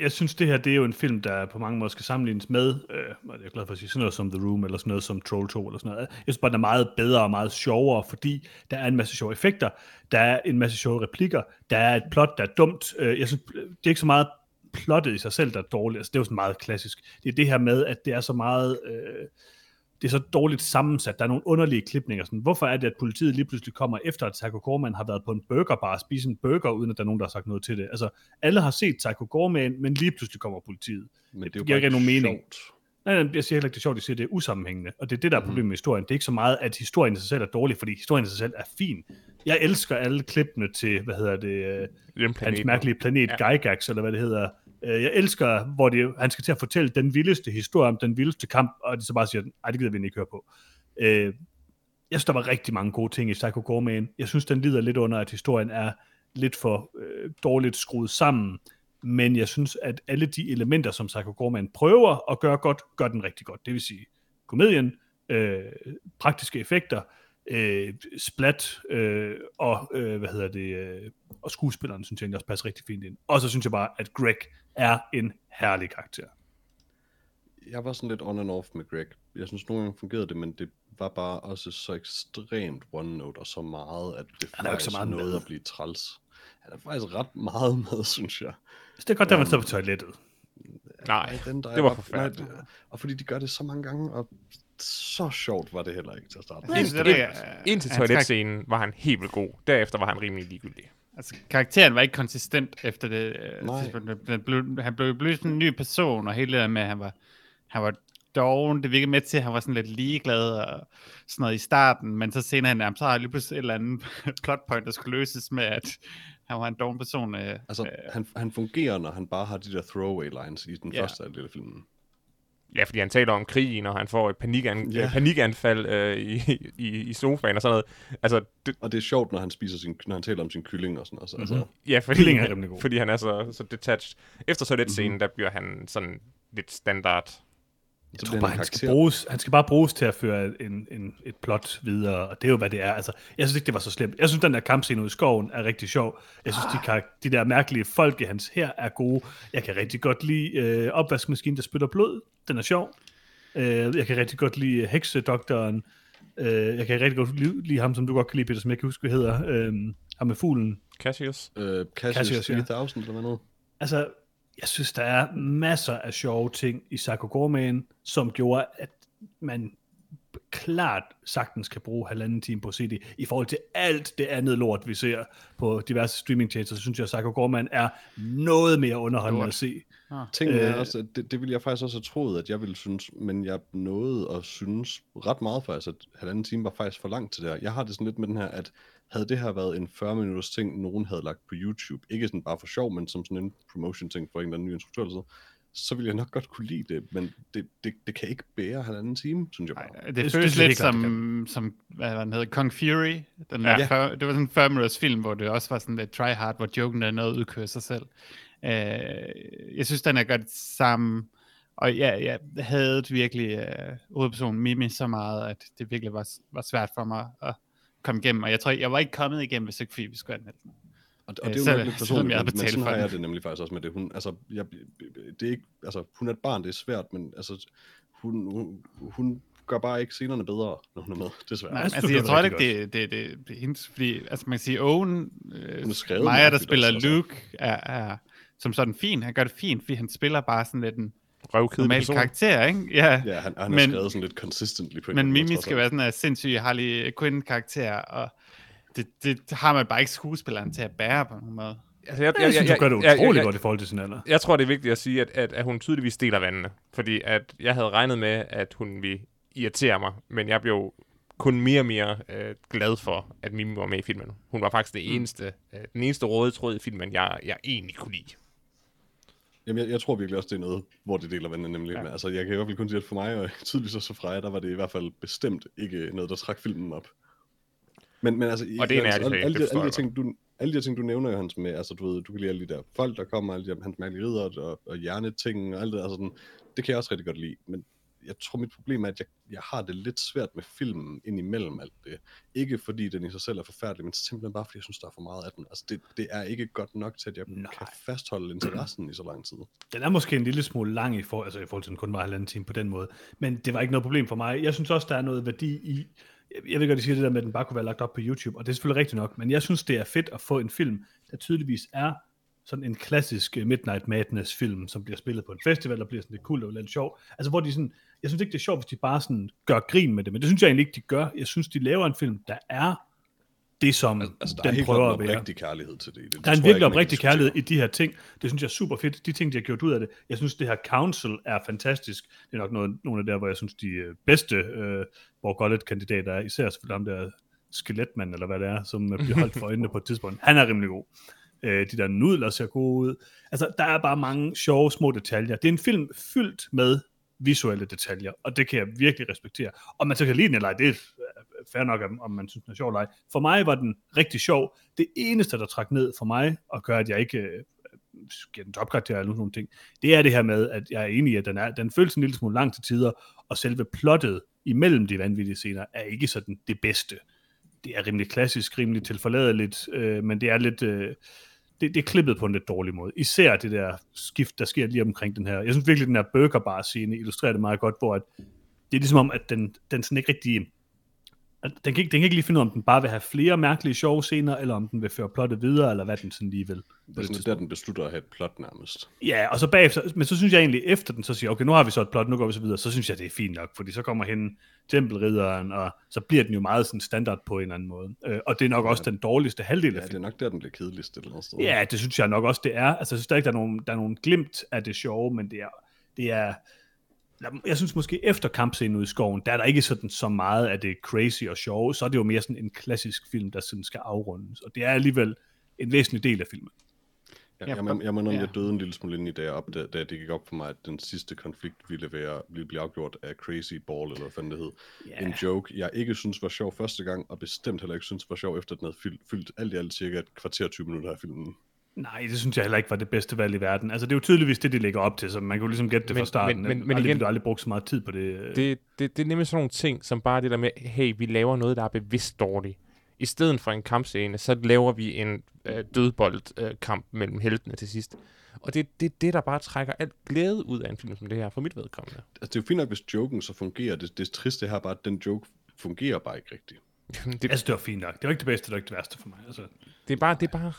A: jeg synes, det her det er jo en film, der på mange måder skal sammenlignes med, øh, og det er jeg glad for at sige, sådan noget som The Room, eller sådan noget som Troll 2, eller sådan noget. Jeg synes bare, den er meget bedre og meget sjovere, fordi der er en masse sjove effekter, der er en masse sjove replikker, der er et plot, der er dumt. Øh, jeg synes, det er ikke så meget plottet i sig selv, der er dårligt. Altså, det er jo sådan meget klassisk. Det er det her med, at det er så meget... Øh, det er så dårligt sammensat, der er nogle underlige klipninger. Sådan, hvorfor er det, at politiet lige pludselig kommer efter, at Taco Gorman har været på en burgerbar og spise en burger, uden at der er nogen, der har sagt noget til det? Altså, alle har set Taco Gorman, men lige pludselig kommer politiet.
B: Men det, er jo
A: giver
B: bare
A: ikke nogen mening.
B: sjovt.
A: Nej, nej, jeg siger heller ikke, det er sjovt, de siger, det er usammenhængende. Og det er det, der er problemet med historien. Det er ikke så meget, at historien i sig selv er dårlig, fordi historien i sig selv er fin. Jeg elsker alle klippene til, hvad hedder det, øh,
D: Den
A: hans
D: planet,
A: mærkelige planet ja. Gygax, eller hvad det hedder. Øh, Jeg elsker, hvor det, han skal til at fortælle den vildeste historie om den vildeste kamp, og de så bare siger, nej, det gider vi ikke høre på. Øh, Jeg synes, der var rigtig mange gode ting i Psycho Gorman. Jeg synes, den lider lidt under, at historien er lidt for øh, dårligt skruet sammen, men jeg synes, at alle de elementer, som Psycho Gorman prøver at gøre godt, gør den rigtig godt. Det vil sige komedien, øh, praktiske effekter, øh, splat øh, og, øh, hvad hedder det, øh, og skuespilleren synes jeg egentlig også passer rigtig fint ind. Og så synes jeg bare, at Greg er en herlig karakter.
B: Jeg var sådan lidt on and off med Greg. Jeg synes, nogle gange fungerede det, men det var bare også så ekstremt one-note og så meget, at det
A: Han er jo ikke så
B: faktisk
A: meget
B: nåede
A: med.
B: at blive træls. Han er faktisk ret meget med, synes jeg.
A: Så det er godt, at man sidder på toilettet.
D: Nej,
B: Ej, den der
D: det
B: er
D: var
B: bare-
D: forfærdeligt.
B: nej, det- Og fordi de gør det så mange gange, og så sjovt var det heller ikke til at starte med.
C: Jeg synes, det er, øh,
D: Indtil
C: hans karak-
D: toiletscenen var han helt vildt god. Derefter var han rimelig ligegyldig.
C: Altså, karakteren var ikke konsistent efter det. Øh,
B: Nej.
C: tidspunkt. Den blev, han blev blevet sådan en ny person, og hele det der med, at han var, han var doven, det virkede med til, at han var sådan lidt ligeglad og sådan noget i starten, men så senere, han, så har lige pludselig et eller andet plotpoint, der skulle løses med, at han var en doven person. Øh,
B: Altså, han, han fungerer, når han bare har de der throwaway lines i den
C: Ja.
B: ja. første del af filmen.
D: Ja, fordi han taler om krigen, og han får et panikan-
B: Ja.
D: yeah. panikanfald øh, i, i, i sofaen og sådan noget. Altså, det,
B: Og det er sjovt, når han, spiser sin, når han taler om sin kylling og sådan noget. Så,
A: Mhm.
B: mm-hmm. altså,
D: ja, fordi,
A: Kylling er rimelig god. Mhm.
D: fordi han er så, så detached. Efter toiletscenen, mm-hmm. der bliver han sådan lidt standard.
B: jeg
A: Jeg tror bare, han skal, bruges, han skal bare bruges til at føre en, en, et plot videre, og det er jo, hvad det er. Altså, jeg synes ikke, det var så slemt. Jeg synes, den der kampscene ude i skoven er rigtig sjov. Jeg synes, de, karak- de der mærkelige folk i hans her er gode. Jeg kan rigtig godt lide øh, opvaskemaskinen, der spytter blod. Den er sjov. Øh, jeg kan rigtig godt lide heksedoktoren. Øh, jeg kan rigtig godt lide, lide ham, som du godt kan lide, Peter, som jeg kan huske, hvad hedder. Øh, ham med fuglen.
D: Cassius.
B: Øh, Cassius,
A: Cassius, ja.
B: 3000 eller hvad noget.
A: Altså, jeg synes, der er masser af sjove ting i Psycho Gorman, som gjorde, at man klart sagtens kan bruge halvanden time på CD i forhold til alt det andet lort, vi ser på diverse streamingtjenester, så synes jeg, at Psycho Gorman er noget mere underholdende
C: Lort.
A: at se.
C: Ah.
B: Tingene
A: Øh.
B: er også, at det, det ville jeg faktisk også have troet, at jeg ville synes, men jeg nåede at synes ret meget faktisk, at halvanden time var faktisk for langt til det her. Jeg har det sådan lidt med den her, at havde det her været en 40 minutters ting, nogen havde lagt på YouTube, ikke sådan bare for sjov, men som sådan en promotion ting for en eller anden ny instruktør eller sådan noget, så ville jeg nok godt kunne lide det, men det, det, det kan ikke bære halvanden time, synes jeg bare.
C: Ej, det,
A: det
C: det
A: synes
C: føles
A: jeg helt
C: lidt
A: klart,
C: som,
A: det
C: som, hvad var den hedder, Kong Fury. Den ja.
B: Ja.
C: 40, det var sådan en 40 minutters film, hvor det også var sådan lidt try hard, hvor joken er noget udkører sig selv. Øh, jeg synes, den er godt sammen. Og ja, jeg havde virkelig øh, hovedpersonen Mimi så meget, at det virkelig var, var svært for mig at komme igennem. Og jeg tror, jeg var ikke kommet igennem, hvis ikke fordi vi skulle anmelde den.
B: Og, og det er
C: Øh,
B: jo
C: selvom-
B: nok lidt
C: selvom
B: personligt,
C: jeg
B: men,
C: har
B: men
C: betalt
B: sådan
C: for
B: har
C: den.
B: jeg det nemlig faktisk også med det. Hun, altså, jeg, det er ikke, altså, hun er et barn, det er svært, men altså, hun, hun, hun gør bare ikke scenerne bedre, når hun er med, desværre.
C: Nej,
A: jeg
B: Nej.
A: synes,
C: altså,
A: det
C: jeg
A: var
C: tror
A: rigtig
C: ikke, det, det, det, det er hendes, fordi, altså man kan sige, Owen, øh,
B: Hun er skrevet
C: Maja, der
B: mærkeligt
C: spiller
B: også, altså.
C: Luke, er, er, som sådan fin, han gør det fint, fordi han spiller bare sådan lidt en
D: Røvkedelig
C: normal
D: person.
C: karakter, ikke? Ja,
B: Ja, han, han men,
C: Men-
B: er skrevet sådan lidt consistently på en
C: men
B: eller anden
C: Mimi
B: måde,
C: skal være sådan en sindssyg Harley Quinn-karakter, og det, det har man bare ikke skuespilleren til at bære på nogen måde.
D: Altså, jeg,
A: Jeg synes, du gør det
D: jeg- jeg-
A: utrolig
D: jeg-
A: godt i forhold til sin alder.
D: Jeg tror, det er vigtigt at sige, at, at, at hun tydeligvis deler vandene. Fordi at jeg havde regnet med, at hun ville irritere mig, men jeg blev kun mere og mere øh, glad for, at Mimi var med i filmen. Hun var faktisk det eneste, øh, den eneste røde tråd i filmen, jeg, jeg egentlig kunne lide.
B: Jamen, jeg, jeg tror virkelig også, det er noget, hvor det deler vandene nemlig.
D: Ja.
B: Ja. Altså, jeg kan i hvert fald kun sige, at for mig, og tydeligvis også for Freja, der var det i hvert fald bestemt ikke noget, der trak filmen op. Men, men altså,
D: Og det er en
B: altså,
D: ærlig sag,
B: alle, alle,
D: det
B: de,
D: forstår
B: alle, de
D: jeg
B: ting, du, alle de her ting, du nævner, Johans, med, altså, du ved, du kan lide alle de der folk, der kommer, alle de der hans mærkelige ridder og, og hjerneting og alt det der, altså sådan, det kan jeg også rigtig godt lide, men jeg tror, mit problem er, at jeg, jeg har det lidt svært med filmen indimellem alt det. Ikke fordi den i sig selv er forfærdelig, men simpelthen bare fordi jeg synes, der er for meget af den. Altså, det, det er ikke godt nok til, at jeg Nej.
A: Nej.
B: kan fastholde interessen i så lang tid.
A: Den er måske en lille smule lang i, for, altså i forhold til, at den kun var halvanden time på den måde. Men det var ikke noget problem for mig. Jeg synes også, der er noget værdi i... Jeg- Jeg ved godt, de siger det der med, at den bare kunne være lagt op på YouTube, og det er selvfølgelig rigtigt nok, men jeg synes, det er fedt at få en film, der tydeligvis er sådan en klassisk øh, Midnight Madness film, som bliver spillet på en festival, og bliver sådan lidt cool og lidt sjov. Altså hvor de sådan, jeg synes ikke, det er sjovt, hvis de bare sådan gør grin med det, men det synes jeg egentlig ikke, de gør. Jeg synes, de laver en film, der er det, som
B: Altså, der den er
A: den
B: helt prøver
A: prøver at
B: klart en
A: være.
B: oprigtig kærlighed til det. i det. det
A: Der er en
B: tror jeg
A: virkelig
B: ikke, man kan
A: oprigtig
B: diskutere.
A: kærlighed i de her ting. Det synes jeg er super fedt. De ting, de har gjort ud af det. Jeg synes, det her Council er fantastisk. Det er nok noget, nogle af der, hvor jeg synes, de øh, bedste øh, hvor godt kandidater er. Især selvfølgelig ham der skeletmand, eller hvad det er, som øh, bliver holdt for øjnene på et tidspunkt. Han er rimelig god. Øh, de der nudler ser gode ud. Altså, der er bare mange sjove små detaljer. Det er en film fyldt med visuelle detaljer, og det kan jeg virkelig respektere. Om man så kan lide den eller ej, det er fair nok, om- om man synes, den er sjov eller ej. For mig var den rigtig sjov. Det eneste, der trak ned for mig, og gør, at jeg ikke øh, giver den topkarakter eller nogle ting, det er det her med, at jeg er enig i, at den, er, den føles en lille smule lang til tider, og selve plottet imellem de vanvittige scener er ikke sådan det bedste. Det er rimelig klassisk, rimelig tilforladeligt, øh, men det er lidt... Øh, det, det er klippet på en lidt dårlig måde. Især det der skift, der sker lige omkring den her. Jeg synes virkelig, den her burgerbar-scene illustrerer det meget godt, hvor at det er ligesom om, at den, den sådan ikke rigtig... at Den kan, ikke, den kan ikke lige finde ud af, om den bare vil have flere mærkelige sjove scener, eller om den vil føre plottet videre, eller hvad den sådan lige vil.
B: Det er sådan, lidt der den beslutter at have et plot nærmest.
A: Ja, og så bagefter, men så synes jeg egentlig efter den, så siger jeg, okay, nu har vi så et plot, nu går vi så videre, så synes jeg, det er fint nok, fordi så kommer hende tempelridderen, og så bliver den jo meget sådan standard på en eller anden måde. Øh, og det er nok også den dårligste halvdel
B: Ja,
A: af
B: det er nok der, den bliver kedeligst et eller andet sted.
A: Ja, det synes jeg nok også, det er. Altså, jeg synes der ikke, der er nogen, der er nogen glimt af det sjove, men det er, det er... Jeg synes måske efter kampscenen ude i skoven, der er der ikke sådan så meget af det crazy og sjove, så er det jo mere sådan en klassisk film, der sådan skal afrundes, og det er alligevel en væsentlig del af filmen.
B: Jeg,
C: Ja,
B: jeg, jeg, jeg må indrømme,
C: ja.
B: jeg døde en lille smule ind i, da jeg opdagede, da det gik op for mig, at den sidste konflikt ville, være, ville blive afgjort af Crazy Ball, eller hvad fanden det hed.
A: Ja.
B: En joke, jeg ikke synes var sjov første gang, og bestemt heller ikke synes var sjov, efter den havde fyldt, fyldt alt i alt cirka et kvarter 20 minutter af filmen.
A: Nej, det synes jeg heller ikke var det bedste valg i verden. Altså, det er jo tydeligvis det, de lægger op til, så man kunne ligesom gætte det
D: Men-
A: fra starten.
D: men- men- men
A: aldrig,
D: igen-
A: Du har aldrig brugt så meget tid på det. det
D: Det, det, det er nemlig sådan nogle ting, som bare det der med, hey, vi laver noget, der er bevidst dårligt. I stedet for en kampscene, så laver vi en øh, dødboldkamp øh, kamp mellem heltene til sidst. Og det er det, er det, der bare trækker alt glæde ud af en film som det her, for mit vedkommende.
B: Altså, det er jo fint nok, hvis joken så fungerer. Det, det triste her er bare, at den joke fungerer bare ikke rigtigt.
D: Jamen, det,
A: altså, det var fint nok. Det var ikke det bedste, det var ikke det værste for mig. Altså,
D: Det er bare, det er bare...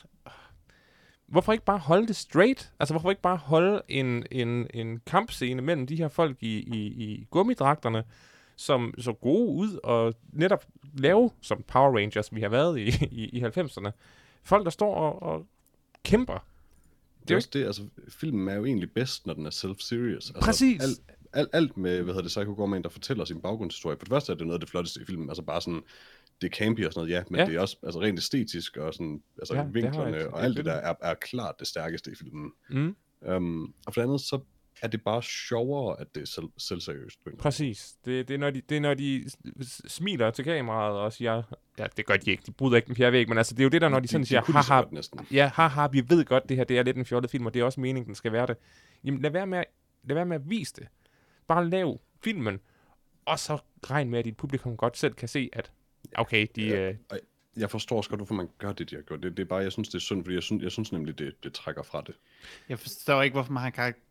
D: Hvorfor ikke bare holde det straight? Altså, hvorfor ikke bare holde en, en, en kampscene mellem de her folk i, i, i gummidragterne, som så gode ud og netop lave, som Power Rangers vi har været i, i, i 90'erne, folk, der står og, og kæmper.
B: Det er også det, altså filmen er jo egentlig bedst, når den er self-serious. Altså,
D: Præcis.
B: Alt, alt, alt med, hvad hedder det, Psycho Gorman, der fortæller sin baggrundshistorie. For det første er det noget af det flotteste i filmen, altså bare sådan, det er campy og sådan noget, ja, men
D: Ja.
B: ja. det er også altså, rent æstetisk, og sådan, altså
D: Ja,
B: ja,
D: det har
B: vinklerne
D: jeg-
B: og
D: jeg
B: alt det der
D: føler.
B: er, er klart det stærkeste i filmen.
D: Mm.
B: Um, og for det andet, så er det bare sjovere, at det er selv, selvseriøst. på en eller anden
D: Præcis. Det, det, er, når de, det er, når de s- s- smiler til kameraet og siger... Ja, det gør de ikke. De bryder ikke den fjerde væg, men altså, det er jo det der, når de
B: måde.
D: sådan
B: de
D: siger...
B: kunne ligesom lige så
D: Haha,
B: godt næsten.
D: ja, haha, vi ved godt, det her det er lidt en fjollet film, og det er også meningen, den skal være det. Jamen, lad være med at, lad være med at vise det. Bare lav filmen, og så regn med, at dit publikum godt selv kan se, at okay, de...
B: Ja.
D: Øh,
B: Jeg forstår også godt, hvorfor man gør det, de har gjort. Det, det er bare, jeg synes, det er synd, fordi jeg synes, jeg synes nemlig, det, det trækker fra det.
C: Jeg forstår ikke, hvorfor man har en karakter,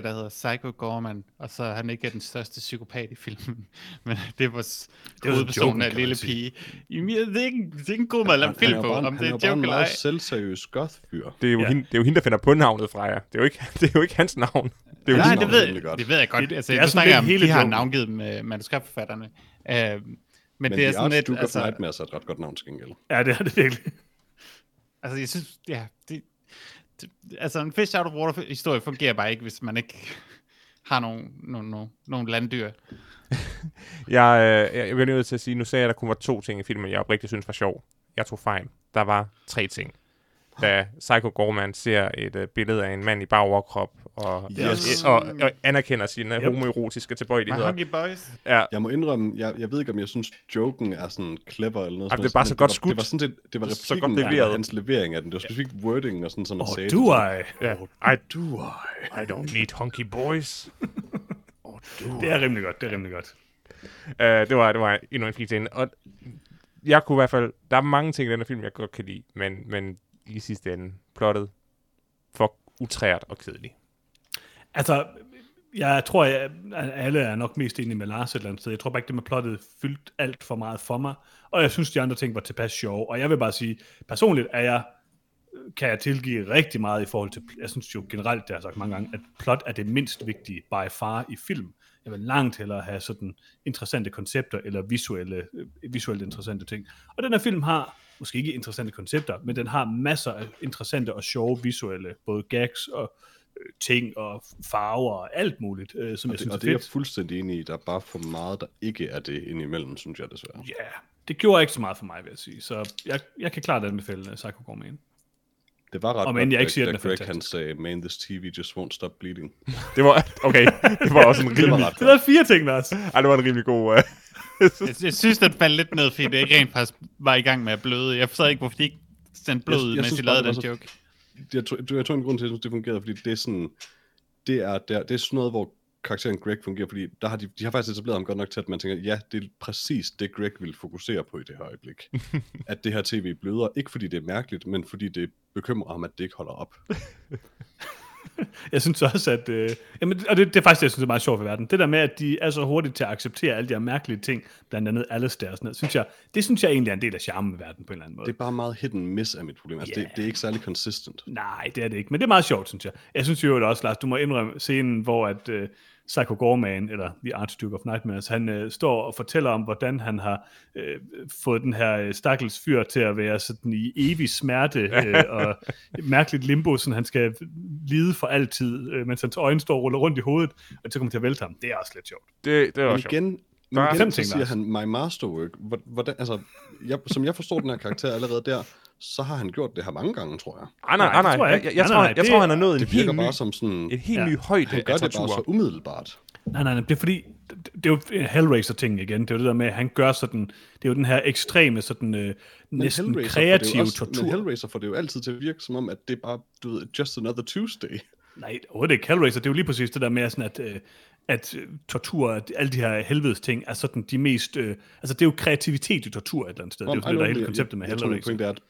C: der hedder Psycho Gorman, og så han ikke er den største psykopat i filmen. Men det var s-
A: jo joken,
C: hovedpersonen af
A: kan man
C: lille
A: sige.
C: pige. Jamen, jeg- Det er, ikke, det er ikke en god måde at lave en
B: han er
C: film
B: jo
C: på,
B: bare, en-
C: om det
B: han
C: er
B: er jo bare en
C: en joke eller ej.
B: meget selvseriøs goth-fyr.
D: det, er jo
A: Ja.
D: hende, det er jo hende, der finder på navnet, Freja. Det er jo ikke, det er jo ikke hans navn. Det er jo
C: Nej,
D: hendes
C: det
B: navn,
C: ved,
B: nemlig godt.
C: det ved jeg godt.
A: Det-
C: Altså,
A: det
C: det
A: er
C: er
A: sådan
C: snakker
A: lidt
C: om,
A: hele
C: de har
A: joken.
C: navngivet dem, øh, manuskriptforfatterne. Øh, men,
B: Men
C: det er sådan lidt,
B: Duke altså...
C: altså,
B: of Nightmares er et ret godt navn til gengæld.
A: Ja, det er det virkelig.
C: altså, jeg synes, ja, det, det, altså en fish out of water historie fungerer bare ikke, hvis man ikke har nogle, nogle, nogle, nogle landdyr.
D: Jeg, øh, jeg, jeg bliver nødt til at sige, nu sagde jeg, at der kun var to ting i filmen, jeg oprigtigt synes var sjov. Jeg tog fejl. Der var tre ting. Da Psycho Gorman ser et øh, billede af en mand i bare overkrop, og,
B: Yes.
D: og, og, og anerkender sine
A: Yep.
D: yep. homoerotiske tilbøjeligheder.
C: Mahogany Boys.
D: Ja,
B: Jeg må indrømme, jeg, jeg ved ikke, om jeg synes, joken er sådan clever eller noget.
D: Ej, det er
B: sådan
D: bare
B: noget,
D: så
B: men
D: godt
B: det var,
D: skudt.
B: Det var sådan set, det var
D: Så godt
B: replikken, der
D: leveret.
B: var hans levering af den. Det var specifikt wording og sådan, som man
A: Oh,
B: sagde.
A: do
B: det.
A: I?
D: ja. I,
B: Do I?
D: I don't need hunky boys.
A: Det er rimelig godt, det er rimelig godt.
D: uh, det, var, det var endnu en fin scene. Og jeg kunne i hvert fald... Der er mange ting i den her film, jeg godt kan lide, men, men i sidste ende plottet for utrært og kedeligt.
A: Altså, jeg tror, jeg, at alle er nok mest enige med Lars et eller andet sted. Jeg tror bare ikke, det med plottet fyldt alt for meget for mig. Og jeg synes, de andre ting var tilpas sjove. Og jeg vil bare sige, personligt er jeg, kan jeg tilgive rigtig meget i forhold til... Jeg synes jo generelt, det har jeg sagt mange gange, at plot er det mindst vigtige by far i film. Jeg vil langt hellere have sådan interessante koncepter eller visuelle, øh, visuelt interessante ting. Og den her film har måske ikke interessante koncepter, men den har masser af interessante og sjove visuelle, både gags og øh, ting og farver og alt muligt, øh, som jeg
B: Det,
A: synes
B: og
A: er
B: det er jeg
A: fedt.
B: fuldstændig enig i. Der er bare for meget, der ikke er det indimellem, synes jeg desværre.
A: Ja, det gjorde ikke så meget for mig, vil jeg sige. Så jeg, jeg kan klart anbefale øh, Psycho Gorman.
B: Det var ret
A: Og men jeg
B: godt,
A: ikke siger,
B: da,
A: den
B: da
A: er
B: Greg han
A: fantastisk.
B: sagde, man, this TV just won't stop bleeding.
D: Det var... Okay, det var også en
B: Det var
D: rimelig...
B: ret
A: Det er
B: godt.
A: fire ting, Lars.
D: Ej, det var en rimelig god... øh,
C: Jeg, jeg synes, den faldt lidt ned, fordi det ikke rent faktisk var i gang med at bløde. Jeg forstår ikke, hvorfor de ikke sendte blod
B: Jeg-
C: ud,
B: jeg
C: mens
B: synes
C: de
B: bare,
C: lavede
B: det
C: den
B: var så-
C: joke.
B: Jeg tror, jeg tror en grund til, at jeg synes, det fungerede, fordi det er sådan, det er, der, det er sådan noget, hvor karakteren Greg fungerer, fordi der har de, de har faktisk etableret ham godt nok til, at man tænker, ja, det er præcis det, Greg vil fokusere på i det her øjeblik. at det her tv bløder, ikke fordi det er mærkeligt, men fordi det bekymrer ham, at det ikke holder op. jeg
A: Jeg synes også, at... Øh, jamen, og det, det er faktisk det, jeg synes er meget sjovt ved verden. Det der med, at de er så hurtige til at acceptere alle de her mærkelige ting, blandt andet Alistair og sådan noget, synes jeg, det synes jeg egentlig er en del af charmen ved verden på en eller anden måde.
B: Det er bare meget hit and miss af mit problem. Altså,
A: Ja.
B: det, det er ikke særlig consistent.
A: Nej, det er det ikke, men det er meget sjovt, synes jeg. Jeg synes jo også, Lars, du må indrømme scenen, hvor at, øh, Psycho Gorman, eller The Archduke of Nightmares, han øh, står og fortæller om, hvordan han har øh, fået den her øh, stakkels fyr til at være sådan i evig smerte øh, og et mærkeligt limbo, sådan han skal lide for altid, øh, mens hans øjne står og ruller rundt i hovedet, og så kommer til at vælte ham. Det er også lidt sjovt.
D: Det, det var
B: Men
D: sjovt.
B: igen, men
D: Der er
B: igen
A: fem
B: så
A: ting,
B: siger
A: Lars.
B: han, my masterwork. Hvor- Hvordan, altså, jeg, som jeg forstår den her karakter allerede der, så har han gjort det her mange gange, tror jeg.
D: Ah,
A: Nej,
D: nej, ah,
A: det
D: nej.
A: tror jeg
D: Jeg,
A: ikke.
D: jeg, jeg
A: Nej,
D: tror,
A: nej,
D: jeg, jeg
A: det-
D: tror, han er nået en
B: Det
D: helt
B: virker
D: ny,
B: bare som sådan...
D: en helt
A: Ja.
D: ny højde
B: Han gør
D: af
B: det bare så
D: tortur.
B: umiddelbart.
A: Nej, nej, nej, det er fordi, det, det er jo Hellraiser-ting igen, det er jo det der med, at han gør sådan, det er jo den her ekstreme, sådan øh, næsten
B: Hellraiser får det jo
A: kreative
B: også- Men
A: tortur.
B: Hellraiser får det jo altid til at virke som om, at det er bare, du ved, just another Tuesday.
A: Nej, overhovedet ikke. Hellraiser, det er jo lige præcis det der med, sådan at, øh, at øh, tortur, at alle de her helvedes ting, er sådan de mest... Øh, altså, det er jo kreativitet i tortur et eller andet sted. Det er jo sådan, det, der er hele konceptet med
B: jeg, jeg, jeg tror, min
A: Hellraiser.
B: pointe er, at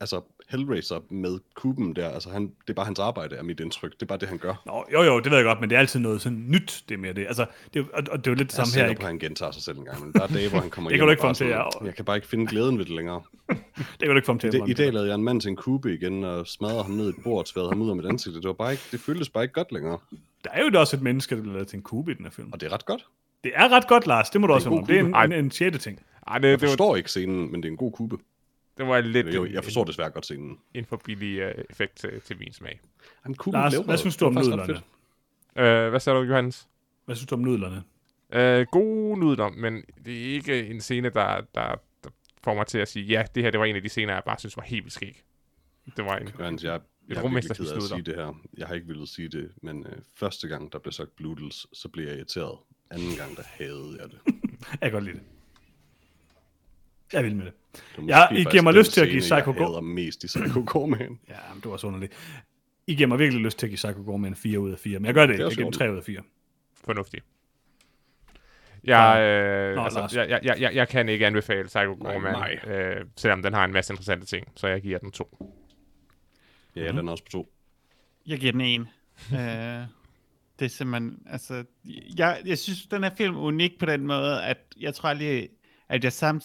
B: altså, Hellraiser med kuben der, altså han, det er bare hans arbejde, er mit indtryk. Det er bare det, han gør.
A: Nå, jo, jo, det ved jeg godt, men det er altid noget sådan nyt, det er mere det. Altså, det er, jo- og, og det er jo lidt det
B: Jeg
A: samme
B: er
A: her,
B: sikker på,
A: ikke?
B: at han gentager sig selv en gang, men der er dage, hvor han kommer
A: Det kan
B: hjem
A: du
B: og
A: ikke få
B: bare
A: ham til,
B: sådan,
A: ja.
B: Jeg kan bare ikke finde glæden ved det længere.
A: Det kan du ikke få ham til at
B: Det, I
A: indrømme.
B: dag lavede jeg en mand til en kube igen, og smadrede ham ned i et bord, og tværede ham ud af mit ansigt. Det, var bare ikke, det føltes bare ikke godt længere.
A: Der er jo da også et menneske, der bliver lavet til en kube i den her film.
B: Og det er ret godt.
A: Det er ret godt, Lars, det må du også
B: en
A: indrømme.
B: god
A: Det er en,
D: kube.
A: en, en, sjette ting.
D: Ej, Ah, det,
B: Jeg
D: det, var,
B: forstår ikke scenen, men det er en god kube.
D: Det var lidt
B: Jo, jeg forstår
D: en,
B: desværre godt scenen.
D: en for billig øh, effekt til, til min smag.
B: Han kunne
A: Lars, hvad synes du om nudlerne?
D: Øh, hvad sagde du, Johannes?
A: Hvad synes du om nudlerne?
D: Øh, god nudler, men det er ikke en scene, der, der, der får mig til at sige, ja, det her det var en af de scener, jeg bare synes var helt vildt skæg. Det var en...
B: Jørgens, jeg, jeg er virkelig
D: rummesters
B: ked af at
D: beslutning.
B: sige det her. Jeg har ikke villet sige det, men øh, første gang, der blev sagt Bloodles, så blev jeg irriteret. Anden gang, der havde jeg det. det
A: Jeg kan godt lide det. Jeg vil med det. Ja,
B: er måske
A: I giver
B: faktisk
A: mig
B: den
A: lyst til at give
B: scene,
A: Psycho Go- Mhm.
B: Jeg hader mest i Psycho Gorman.
A: Ja, men det var også underligt. I giver mig virkelig lyst til at give Psycho Gorman 4 ud af 4, men jeg gør det ikke. Jeg
B: også
A: giver den
B: ordentligt.
A: 3 ud af 4.
D: fornuftig. Jeg, øh,
A: Nå,
D: Nå, altså,
A: Lars.
D: jeg, jeg, jeg, jeg, jeg kan ikke anbefale Psycho Gorman,
B: nej.
D: øh, selvom den har en masse interessante ting, så jeg giver den to.
B: Ja, mm-hmm. den er også på to.
C: Jeg giver den en. øh, det er simpelthen, altså, jeg, jeg synes, den her film er unik på den måde, at jeg tror aldrig, at jeg samt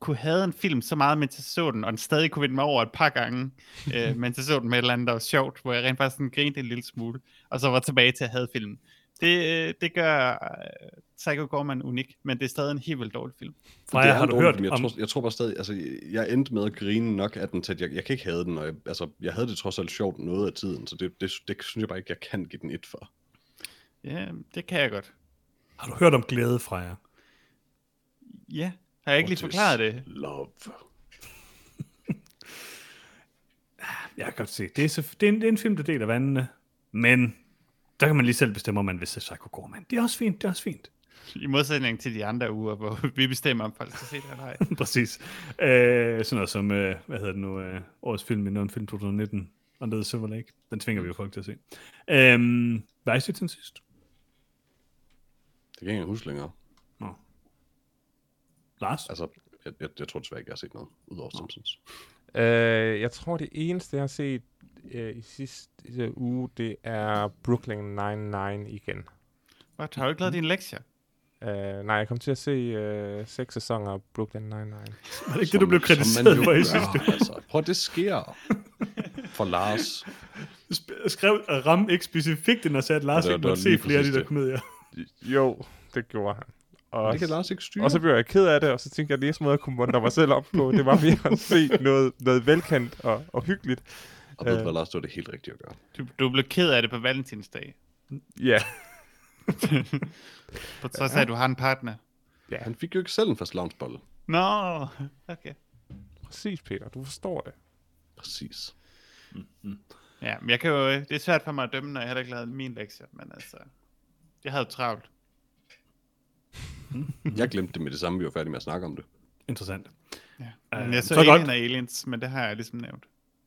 C: kunne have en film så meget, mens jeg så den, og den stadig kunne vinde mig over et par gange, øh, mens jeg så den med et eller andet, der var sjovt, hvor jeg rent faktisk sådan grinte en lille smule, og så var tilbage til at have filmen. Det, øh, det gør øh, Psycho Gorman unik, men det er stadig en helt vildt dårlig film.
A: Freja,
B: Det er
A: har
B: en
A: du
B: dårlig
A: hørt
B: film. jeg
A: om...
B: Tror, jeg tror bare stadig, altså, jeg endte med at grine nok af den til, at jeg, jeg kan ikke have den. Og jeg, altså, jeg havde det trods alt sjovt noget af tiden, så det, det, det synes jeg bare ikke, jeg kan give den et for.
C: Ja, det kan jeg godt.
A: Har du hørt om glæde, Freja?
C: Ja, har jeg ikke lige
B: What is
C: forklaret det?
B: Love.
A: Jeg kan godt se. Det er, så, det er, en, det er en film, der deler vandene. Men der kan man lige selv bestemme, om man vil se Psycho Gorman. Det er også fint, det er også fint.
C: I modsætning til de andre uger, hvor vi bestemmer, om folk skal se det eller ej.
A: Præcis. Øh, sådan noget som, øh, hvad hedder det nu, øh, årets film i Nørren Film 2019, Under the Silver Lake. Den tvinger vi jo folk til at se. Øh, hvad har I set til sidst?
B: Det kan jeg ikke huske længere.
A: Nå. Lars?
B: Altså, jeg, jeg, jeg tror desværre ikke, jeg har set noget, udover Simpsons.
D: Øh, jeg tror, det eneste, jeg har set øh, i sidste uge, det er Brooklyn Nine-Nine igen.
C: What, har du ikke lavet dine lektier?
D: Øh, nej, jeg kom til at se øh, seks sæsoner af Brooklyn Nine-Nine.
A: Var det ikke det, du blev kritiseret for i sidste?
B: Altså, prøv at det sker. For Lars.
A: Sp- Skrev Ram ikke specifikt, den og sagde, at Lars
B: Ja, det var-
A: ikke
B: det var
A: måtte se
B: lige
A: flere af de
B: præcis
A: der
B: det.
A: komedier.
D: Jo, det gjorde han. Og,
B: Det kan Lars ikke styre.
D: og så blev jeg ked af det, og så tænkte jeg, at det eneste måde, jeg kunne muntre mig selv op på, det var ved at se noget, noget velkendt og, og hyggeligt.
B: og ved du hvad, Lars, det var det helt rigtige at gøre.
C: Du, du blev ked af det på valentinsdag.
D: Ja,
C: På trods af, at du har en partner.
B: Han fik jo ikke selv en fast loungebolle.
C: Nå, okay.
D: præcis Peter, du forstår det.
B: Præcis.
C: Ja, men jeg kan jo, øh, det er svært for mig at dømme, når jeg heller ikke lavede min lektier, men altså, jeg havde travlt.
B: Jeg glemte det med det samme, vi var færdige med at snakke om det.
A: Interessant.
C: Ja.
A: Øh,
C: Men jeg så,
A: så
C: så Alien
A: godt.
C: og Aliens, men det har jeg ligesom nævnt.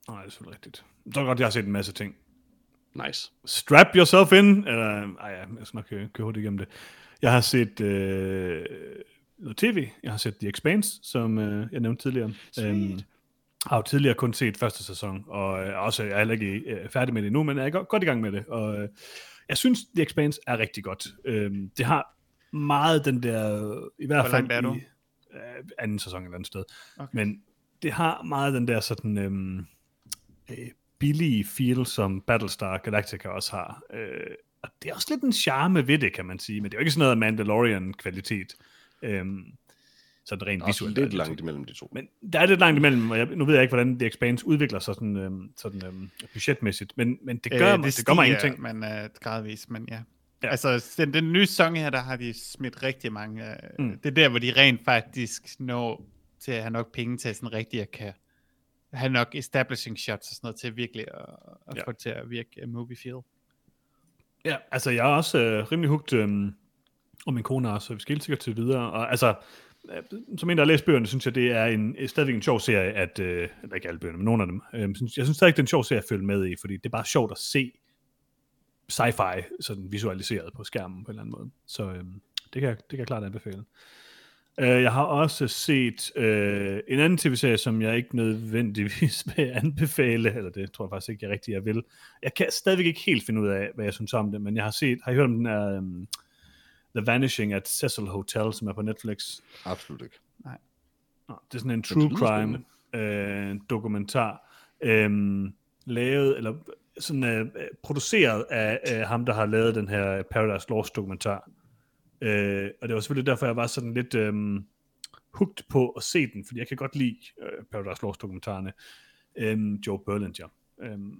A: Nej, det er selvfølgelig rigtigt. Så godt, jeg har set en masse ting.
B: Nice.
A: Strap yourself in. Eller, ej, ja, jeg skal nok køre, køre hurtigt igennem det. Jeg har set øh, noget tv. Jeg har set The Expanse, som øh, jeg nævnte tidligere. Øhm, har jo tidligere kun set første sæson, og øh, også, jeg er heller ikke øh, færdig med det nu, men jeg er godt, godt i gang med det. Og øh, jeg synes, The Expanse er rigtig godt. Øhm, det har meget den der, øh, i hvert
C: Hvor
A: fald
C: langt er du?
A: i øh, anden sæson et eller andet sted.
C: Okay.
A: Men det har meget den der sådan øhm, øh, billige feel, som Battlestar Galactica også har. Øh, og det er også lidt en charme ved det, kan man sige, men det er jo ikke sådan noget Mandalorian-kvalitet. Øhm, sådan rent
B: Det er
A: visuelt.
B: også lidt langt imellem de to.
A: Men der er lidt langt imellem, og jeg, nu ved jeg ikke, hvordan The Expanse udvikler sig sådan, øhm, sådan øhm, budgetmæssigt, men, men det gør, øh, mig, det gør mig ingenting.
C: Men uh, gradvist, men ja.
A: Ja.
C: ja. Altså, den, den nye sang her, der har de smidt rigtig mange. Uh,
A: Mm.
C: mm. Det er der, hvor de rent faktisk når til at have nok penge til at sådan rigtig at kan have nok establishing shots og sådan noget til virkelig at, at
A: Ja.
C: ja. få det til at virke uh, movie feel.
A: Ja, altså jeg er også øh, rimelig hugt, øhm, og min kone er også, så vi skal helt sikkert til videre. Og altså, øh, som en, der har læst bøgerne, synes jeg, det er en, øh, stadigvæk en sjov serie, at, øh, eller ikke alle bøgerne, men nogle af dem. Øh, synes, jeg synes stadig, det er en sjov serie at følge med i, fordi det er bare sjovt at se sci-fi sådan visualiseret på skærmen på en eller anden måde. Så øh, det, kan jeg, det kan jeg klart anbefale. Øh, jeg har også set øh, en anden tv-serie, som jeg ikke nødvendigvis vil anbefale, eller det tror jeg faktisk ikke, jeg rigtig jeg vil. Jeg kan stadigvæk ikke helt finde ud af, hvad jeg synes om det, men jeg har set, har I hørt om den her um, The Vanishing at Cecil Hotel, som er på Netflix?
B: Absolut ikke.
A: Nå, det er sådan en
B: lyder
A: true crime øh, dokumentar, øh, lavet, eller sådan øh, produceret af øh, ham, der har lavet den her Paradise Lost dokumentar. Øh, og det var selvfølgelig derfor, jeg var sådan lidt øh, hugt på at se den, fordi jeg kan godt lide øh, Paradise Lost dokumentarerne, øhm, Joe Berlinger. Øhm,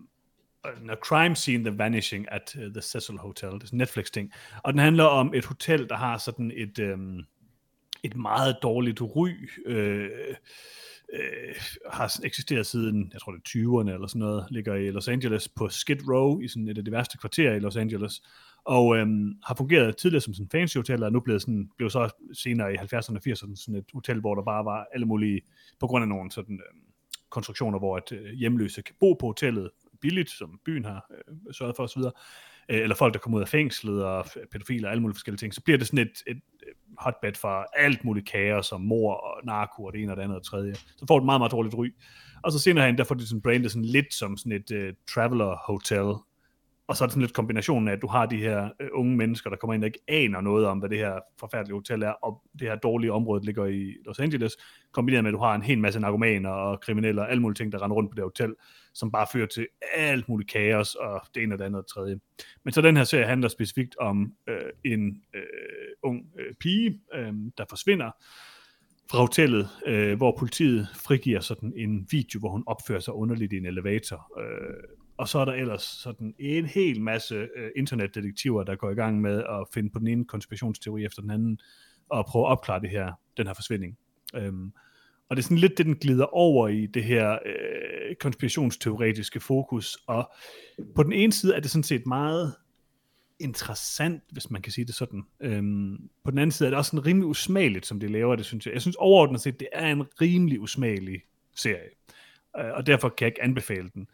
A: og den er Crime Scene The Vanishing at øh, The Cecil Hotel, det er sådan en Netflix-ting, og den handler om et hotel, der har sådan et, øhm, et meget dårligt ry, øh, øh, har sådan eksisteret siden, jeg tror det er 20'erne eller sådan noget, ligger i Los Angeles på Skid Row, i sådan et af de værste kvarterer i Los Angeles, og øhm, har fungeret tidligere som sådan en fancy hotel, og er nu blevet sådan, blev så senere i 70'erne og 80'erne sådan et hotel, hvor der bare var alle mulige, på grund af nogle sådan øhm, konstruktioner, hvor at øh, hjemløse kan bo på hotellet billigt, som byen har øh, sørget for osv., øh, eller folk, der kommer ud af fængslet, og f- pædofiler og alle mulige forskellige ting, så bliver det sådan et, et øh, hotbed for alt muligt kaos, som mor og narko og det ene og det andet og det tredje. Så får det meget, meget dårligt ry. Og så senere hen, der får det sådan brandet sådan lidt som sådan et øh, traveler hotel, og så er det sådan lidt kombinationen af, at du har de her øh, unge mennesker, der kommer ind og ikke aner noget om, hvad det her forfærdelige hotel er, og det her dårlige område der ligger i Los Angeles, kombineret med, at du har en hel masse narkomaner og kriminelle og alle mulige ting, der render rundt på det hotel, som bare fører til alt muligt kaos, og det ene og det andet og det tredje. Men så den her serie handler specifikt om øh, en øh, ung øh, pige, øh, der forsvinder, fra hotellet, øh, hvor politiet frigiver sådan en video, hvor hun opfører sig underligt i en elevator. Øh, og så er der ellers sådan en hel masse øh, internetdetektiver, der går i gang med at finde på den ene konspirationsteori efter den anden, og prøve at opklare det her, den her forsvinding. Øhm, og det er sådan lidt det, den glider over i det her øh, konspirationsteoretiske fokus. Og på den ene side er det sådan set meget interessant, hvis man kan sige det sådan. Øhm, på den anden side er det også sådan rimelig usmageligt, som det laver det, synes jeg. Jeg synes overordnet set, det er en rimelig usmagelig serie, øh, og derfor kan jeg ikke anbefale den.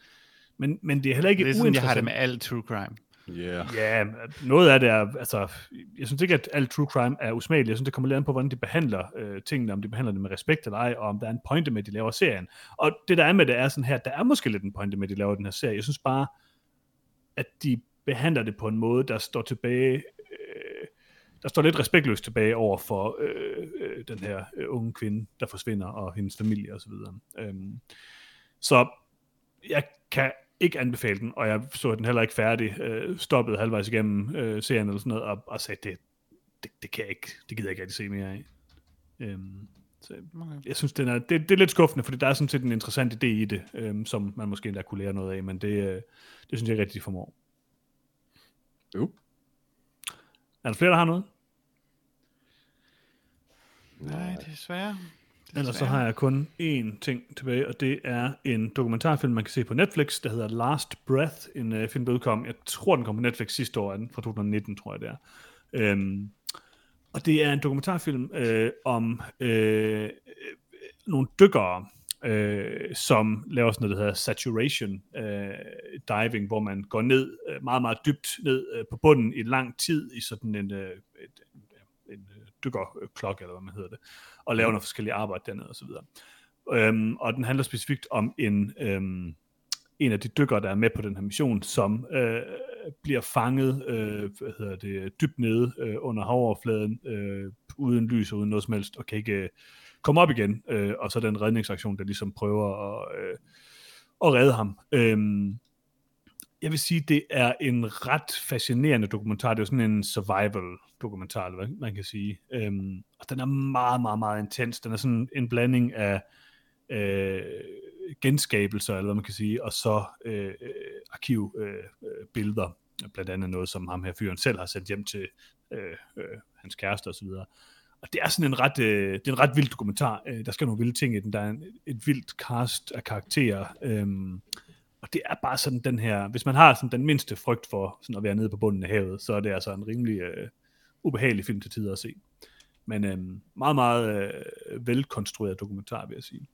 A: Men, men det er heller ikke
C: Det er sådan, jeg har det
A: uinteressant.
C: med al true crime.
B: Yeah.
A: Ja, men noget af det er, altså, jeg synes ikke, at alt true crime er usmageligt. Jeg synes, det kommer lidt an på, hvordan de behandler øh, tingene, om de behandler det med respekt eller ej, og om der er en pointe med, at de laver serien. Og det, der er med det, er sådan her, der er måske lidt en pointe med, at de laver den her serie. Jeg synes bare, at de behandler det på en måde, der står tilbage, øh, der står lidt respektløst tilbage over for øh, øh, den her øh, unge kvinde, der forsvinder, og hendes familie osv. Øhm, så jeg kan ikke anbefale den, og jeg så den heller ikke færdig, øh, stoppede halvvejs igennem øh, serien eller sådan noget, og, og sagde, det, det, det kan jeg ikke, det gider jeg ikke rigtig se mere af. Øhm, så jeg synes, den er, det, det er lidt skuffende, fordi der er sådan set en interessant idé i det, øhm, som man måske endda kunne lære noget af, men det, øh, det synes jeg ikke rigtig, de formår.
B: Jo.
A: Er der flere, der har noget?
C: Nej, desværre.
A: Ellers så har jeg kun én ting tilbage, og det er en dokumentarfilm, man kan se på Netflix, der hedder Last Breath, en øh, film, der udkom, jeg tror, den kom på Netflix sidste år, er den fra 2019, tror jeg det er. Øhm, og det er en dokumentarfilm øh, om øh, øh, nogle dykkere, øh, som laver sådan noget, der hedder saturation øh, diving, hvor man går ned øh, meget, meget dybt ned øh, på bunden i lang tid i sådan en, øh, et, en øh, dykkerklok, eller hvad man hedder det, og laver noget forskellige arbejde dernede osv. Øhm, og den handler specifikt om en, øhm, en af de dykkere, der er med på den her mission, som øh, bliver fanget øh, hvad hedder det, dybt nede øh, under havoverfladen, øh, uden lys og uden noget som helst, og kan ikke øh, komme op igen. Øh, og så den redningsaktion, der ligesom prøver at, øh, at redde ham. Øhm, jeg vil sige, det er en ret fascinerende dokumentar. Det er jo sådan en survival-dokumentar, eller hvad man kan sige. Øhm, og den er meget, meget, meget intens. Den er sådan en blanding af øh, genskabelser, eller hvad man kan sige, og så øh, øh, arkivbilleder. Øh, billeder. blandt andet noget, som ham her fyren selv har sendt hjem til øh, øh, hans kæreste osv. Og det er sådan en ret, øh, det er en ret vild dokumentar. Øh, der skal nogle vilde ting i den. Der er en, et vildt cast af karakterer. Øh, og det er bare sådan den her, hvis man har sådan den mindste frygt for sådan at være nede på bunden af havet, så er det altså en rimelig øh, ubehagelig film til tider at se. Men øh, meget, meget øh, velkonstrueret dokumentar, vil jeg sige.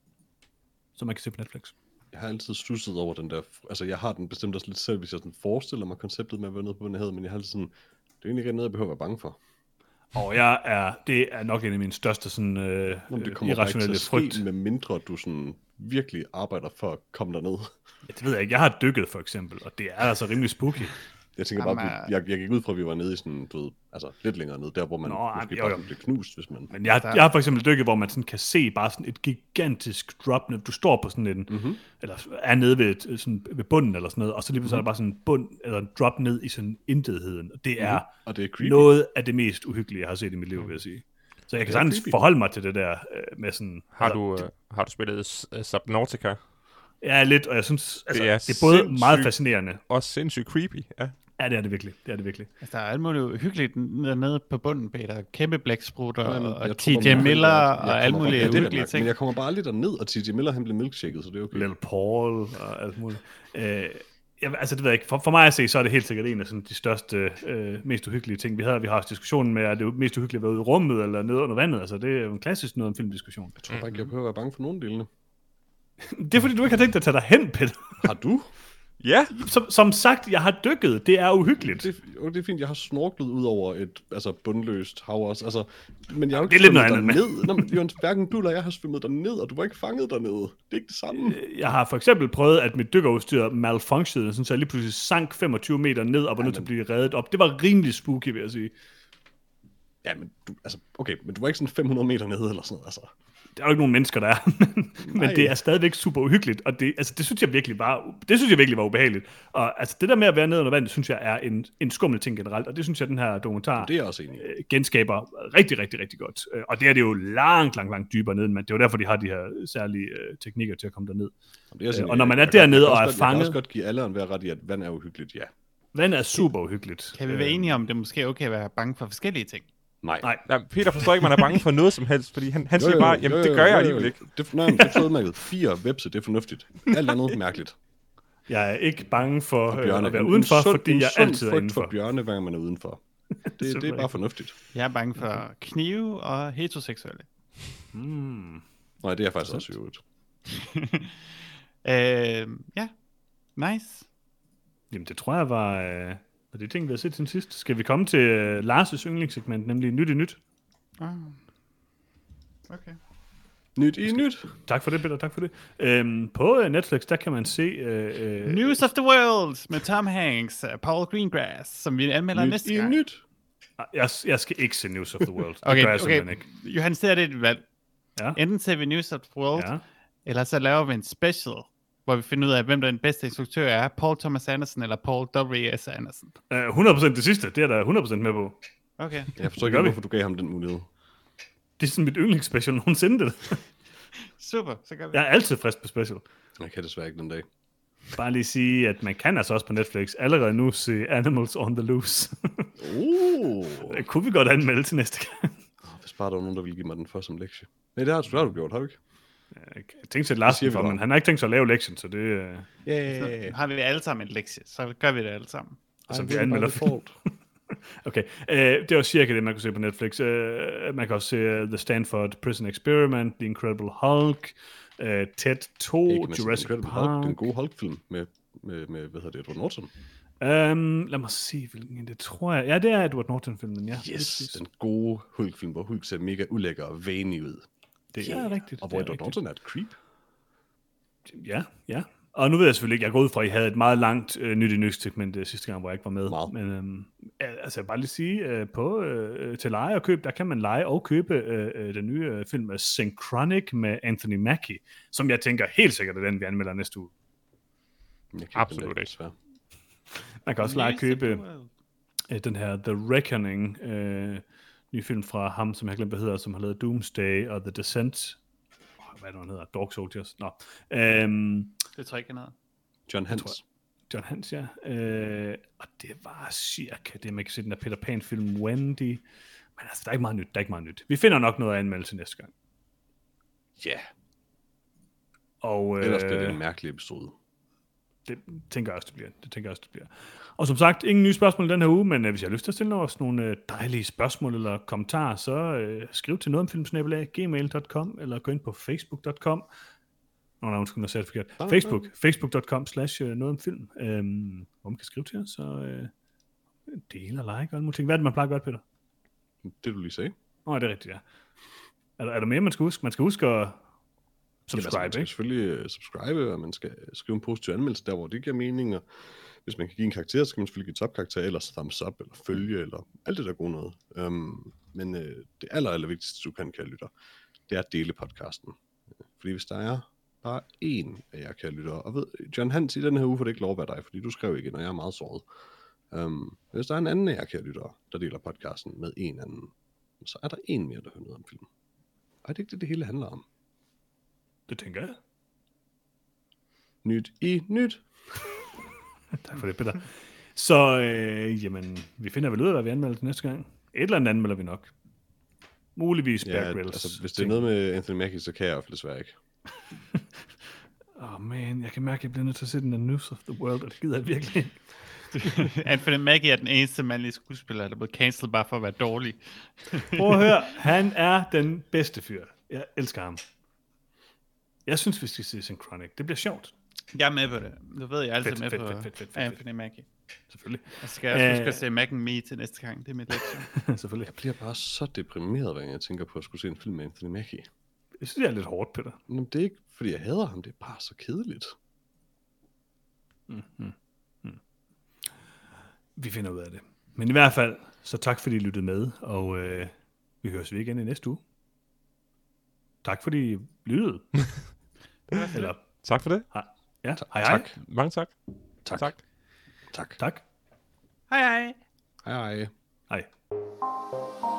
A: Som man kan se på Netflix.
B: Jeg har altid stusset over den der... Altså, jeg har den bestemt også lidt selv, hvis jeg sådan forestiller mig konceptet med at være nede på bunden af havet, men jeg har altid sådan... Det er egentlig ikke noget, jeg behøver at være bange for.
A: Og jeg er, det er nok en af mine største sådan, øh,
B: Om det
A: øh,
B: kommer bare ikke til
A: irrationelle
B: at ske,
A: frygt.
B: med mindre du sådan virkelig arbejder for at komme derned.
A: Ja, det ved jeg ikke. Jeg har dykket for eksempel, og det er altså rimelig spooky.
B: Jeg tænker bare,
C: Jamen,
A: øh,
B: at vi- jeg, jeg gik ud fra, at vi var nede i sådan, du ved, altså lidt længere ned, der hvor man
A: Nå,
B: Nå,
A: ej,
B: måske
A: jo,
B: bare
A: jo.
B: kunne blive knust, hvis man...
A: Men jeg, jeg har for eksempel dykket, hvor man sådan kan se bare sådan et gigantisk drop, når du står på sådan
B: Mm.
A: en,
C: Mhm.
A: mm-hmm. eller er nede ved, et- sådan, ved bunden eller sådan noget, og så lige pludselig mm-hmm. er der bare sådan en bund, eller en drop ned i sådan intetheden. Og det er, mm-hmm.
B: Og det er creepy.
A: noget af det mest uhyggelige, jeg har set i mit liv, vil jeg sige. Så jeg kan sagtens
B: creepy.
A: forholde mig til det der øh, med sådan...
D: Har
A: altså,
D: du, øh, har du spillet S- øh, Subnautica?
A: Ja, lidt, og jeg synes, altså, det
D: er
A: er, det er både
D: sindssygt.
A: meget fascinerende.
D: Også sindssygt creepy, ja.
A: Ja, det er det virkelig. Det er det virkelig.
C: Altså, der er alt muligt hyggeligt dernede på bunden, Peter. Kæmpe blæksprutter
B: Jamen,
C: og,
B: jeg
C: og
B: tror, man
C: T.J.
B: kan-
C: Miller
B: jeg kommer
C: og alle
B: bare-
C: mulige
B: Ja, det er da
C: hyggelige
B: nok, Men
C: ting.
B: jeg kommer bare lidt derned, og T.J. Miller han blev milkshaket, så det er okay.
A: Little Paul og alt muligt. Øh, jeg, altså, det ved jeg ikke. For, for mig at se, så er det helt sikkert en af sådan, de største, øh, mest uhyggelige ting, vi havde. Vi har haft diskussionen med, er det mest uhyggelige at være ude i rummet eller nede under vandet. Altså, det er jo en klassisk noget om filmdiskussion.
B: Jeg tror bare ikke, jeg behøver at være bange for nogen delene.
A: Det er fordi, du ikke har tænkt dig at tage dig hen, Peter.
B: Har du?
D: Ja!
A: Som, som sagt, jeg har dykket. Det er uhyggeligt.
B: Det, er- jo, det er fint, jeg har snorklet ud over et altså, bundløst hav også. Altså, men jeg har jo
A: Det
B: ikke
A: er lidt noget
B: svømmet
A: andet,
B: derned. Nå, men Jørgens, hverken du eller jeg har svømmet derned, og du var ikke fanget dernede. Det er ikke det samme.
A: Jeg har for eksempel prøvet, at mit dykkerudstyr malfunctionede, sådan så jeg lige pludselig sank 25 meter ned og var nødt til at blive reddet op. Det var rimelig spooky, vil jeg sige.
B: Ja, men du, altså, okay, men du var ikke sådan 500 meter nede eller sådan noget, altså.
A: der er jo ikke nogen mennesker, der er, men, men
B: Nej.
A: det er stadigvæk super uhyggeligt, og det, altså, det synes jeg virkelig var, det synes jeg virkelig var ubehageligt. Og altså, det der med at være nede under vandet, synes jeg er en, en skummel ting generelt, og det synes jeg, den her dokumentar
B: Det er jeg også enig i.
A: øh, genskaber rigtig, rigtig, rigtig godt. Øh, Og det er det jo langt, langt, langt dybere nede, men det er jo derfor, de har de her særlige øh, teknikker til at komme derned.
B: Jamen, det er jeg også
A: Øh,
B: enig
A: og
B: i.
A: når man er
B: Jeg kan- jeg
A: dernede og
B: kan også
A: er
B: godt- Jeg
A: fanget-
B: kan også godt give alle en være ret i, at vand er uhyggeligt, ja.
A: Vandet er super uhyggeligt.
B: øh,
A: Øh,
C: Kan vi være enige om, det måske er okay at være bange for forskellige ting?
B: Nej.
A: Nej.
D: Nej, Peter forstår ikke, man er bange for noget som helst, fordi han, han siger bare, jamen det gør jeg alligevel ikke.
B: Det, nej, men det er udmærket. Fire vepse, det er fornuftigt. Alt andet mærkeligt.
A: Jeg er ikke bange for
B: Og
A: øh, at være
B: En-
A: udenfor,
B: en sund-
A: fordi
B: en
A: jeg
B: sund
A: altid er
B: frygt
A: indenfor.
B: for bjørne, hver gang man er udenfor. Det, det er
A: Selvfølgelig.
B: bare fornuftigt.
C: Jeg er bange for knive og heteroseksuelle.
B: Nej, det er faktisk også øvrigt.
C: Øh, ja, nice.
A: Jamen, det tror jeg var, øh, var det ting, vi har set siden sidst. Skal vi komme til øh, Lars' yndlingssegment, nemlig Nyt i Nyt?
C: Ah. Okay.
B: Nyt i nyt.
A: Tak for det, Peter, tak for det. Øhm, på øh, Netflix, der kan man se... Øh, øh,
C: News of the World med Tom Hanks og Paul Greengrass, som vi anmelder
B: Nyt
C: næste
B: i
C: gang.
B: nyt.
A: jeg, jeg skal ikke se News of the World. Det
C: Okay,
A: gør jeg
C: okay.
A: simpelthen ikke.
C: Johan ser det er et valg.
A: Ja.
C: Enten ser vi News of the World,
A: Ja.
C: eller så laver vi en special, hvor vi finder ud af, hvem der den bedste instruktør er. Paul Thomas Anderson eller Paul W.S. Anderson.
A: Øh, 100% det sidste, det er der 100% med på.
C: Okay.
B: Jeg forstår
A: gør
B: ikke,
A: vi.
B: hvorfor du gav ham den mulighed.
A: Det er sådan mit yndlingsspecial nogensinde. Det.
C: Super, så gør vi
A: Jeg er altid frisk på special.
B: Jeg kan desværre ikke den dag.
A: Bare lige sige, at man kan altså også på Netflix allerede nu se Animals on the Loose.
B: Uh.
A: det Øh, kunne vi godt anmelde til næste gang.
B: Hvis bare der var nogen, der ville give mig den for som lektie. Nej, det har du, det har du gjort, har du ikke?
A: Jeg tænkte til Lars
B: siger vi
A: for,
B: bare.
A: men han har ikke tænkt sig at lave lektion, så det... Øh...
B: Yeah.
C: Har vi alle sammen en lektie, så gør vi det alle sammen.
A: Altså, vi anmelder Okay, øh, det var cirka det, man kunne se på Netflix. Øh, man kan også se uh, The Stanford Prison Experiment, The Incredible Hulk, øh, Ted 2,
B: Ikke, men
A: Jurassic
B: Incredible Hulk,
A: Park.
B: den gode Hulk-film med, med, med, hvad hedder det, Edward Norton.
A: Øhm, lad mig se, hvilken en det tror jeg. Ja, det er Edward Norton-filmen, ja. lige
B: Yes,
A: præcis.
B: den gode Hulk-film, hvor Hulk ser mega ulækker og vanig ud.
A: Det er rigtigt.
B: Og hvor
A: det er
B: Edward Norton er et creep.
A: rigtigt. Ja, ja. Og nu ved jeg selvfølgelig ikke, jeg går ud fra, at I havde et meget langt øh, nyt i nyt segment øh, sidste gang, hvor jeg ikke var med.
B: Meget.
A: Men øhm, al- altså, jeg vil bare lige sige, øh, på, øh, til leje og køb, der kan man lege og købe øh, øh, den nye øh, film øh, Synchronic med Anthony Mackie, som jeg tænker helt sikkert er den, vi anmelder næste uge.
B: Jeg kan
D: Absolut
B: den der,
D: ikke.
B: desværre.
A: Man kan også lege og
C: News of the
A: købe
C: World.
A: øh, den her The Reckoning, øh, ny film fra ham, som jeg har glemt, hvad hedder, som har lavet Doomsday og The Descent. Oh, hvad er det, han hedder? Dog Soldiers? Nå. Øhm,
C: Det tror jeg ikke er noget.
B: John Hans.
A: tror John Hans, ja. Øh, og det var cirka det, man kan se den der Peter Pan-film Wendy. Men altså, der er ikke meget nyt, der er ikke meget nyt. Vi finder nok noget at anmelde til næste gang.
B: Ja,
A: Og, øh,
B: ellers bliver det en mærkelig episode.
A: det tænker jeg også, det bliver. Det tænker jeg også, det bliver. Og som sagt, ingen nye spørgsmål den her uge, men øh, hvis jeg har lyst til at stille os nogle øh, dejlige spørgsmål eller kommentarer, så øh, skriv til noget om gmail.com eller gå ind på facebook.com. Nå, nej, undskyld, jeg sagde det forkert. Facebook, facebook.com slash øh, noget om film, øhm, hvor man kan skrive til os, så øh, del og like og alle mulige ting. Hvad er det, man plejer at gøre, Peter?
B: Det du lige sagde.
A: Nå, det er rigtigt, ja. Er der, er der mere, man skal huske? Man skal huske at subscribe,
B: man
A: ikke?
B: skal selvfølgelig øh, subscribe, og man skal skrive en positiv anmeldelse der, hvor det giver mening, og hvis man kan give en karakter, så skal man selvfølgelig give topkarakter, eller thumbs up, eller følge, eller alt det der gode noget. Um, men øh, det aller, aller vigtigste, du kan, kære lytter, det er at dele podcasten. Fordi hvis der er bare én af jer, kære lytter, og ved, John Hans, i den her uge får det ikke lov at være dig, fordi du skrev ikke, og jeg er Øhm, meget såret. Um, hvis der er en anden af jer, kære lytter, der deler podcasten med en anden, Men så er der en mere, der hører noget om filmen. Og det er ikke det, det hele handler om.
A: Det tænker jeg.
B: Nyt i nyt.
A: Tak for det, Peter. Så, øh, jamen, vi finder vel ud af, hvad vi anmelder til næste gang. Et eller andet anmelder vi nok. Muligvis Bear
B: Ja,
A: Grylls.
B: altså, hvis det er noget med Anthony Mackie, så kan jeg i hvert fald desværre ikke.
A: Åh, oh, man, jeg kan mærke, at jeg bliver nødt til at se den der News of the World, og det gider jeg virkelig ikke.
C: Anthony Mackie er den eneste mandlige skuespiller, der er blevet cancelled bare for at være dårlig.
A: Prøv at høre, han er den bedste fyr. Jeg elsker ham. Jeg synes, vi skal se Synchronic. Det bliver sjovt,
C: Jeg er med på det. Du ved, jeg er altid
A: Fedt,
C: med
A: fedt,
C: på
A: fedt, fedt, fedt, fedt,
C: Anthony Mackie.
A: selvfølgelig.
C: Jeg skal også huske
A: Øh.
C: at se Mac and Me til næste gang. Det er mit lektie.
A: selvfølgelig.
B: Jeg bliver bare så deprimeret, hver gang jeg tænker på at skulle se en film med Anthony Mackie.
A: Jeg synes, det er lidt hårdt, Peter.
B: Jamen, det er ikke, fordi jeg hader ham. Det er bare så kedeligt.
A: Vi finder ud af det. Men i hvert fald, så tak fordi I lyttede med, og øh, vi høres ved igen i næste uge. Tak fordi I lyttede. Eller,
D: Tak for det.
A: ja, hej hej.
B: Tak.
A: Tak.
D: Mange tak.
B: Tak.
D: tak.
B: Tak.
A: tak.
C: Hej hej!
B: Hej, hej.
A: Hej.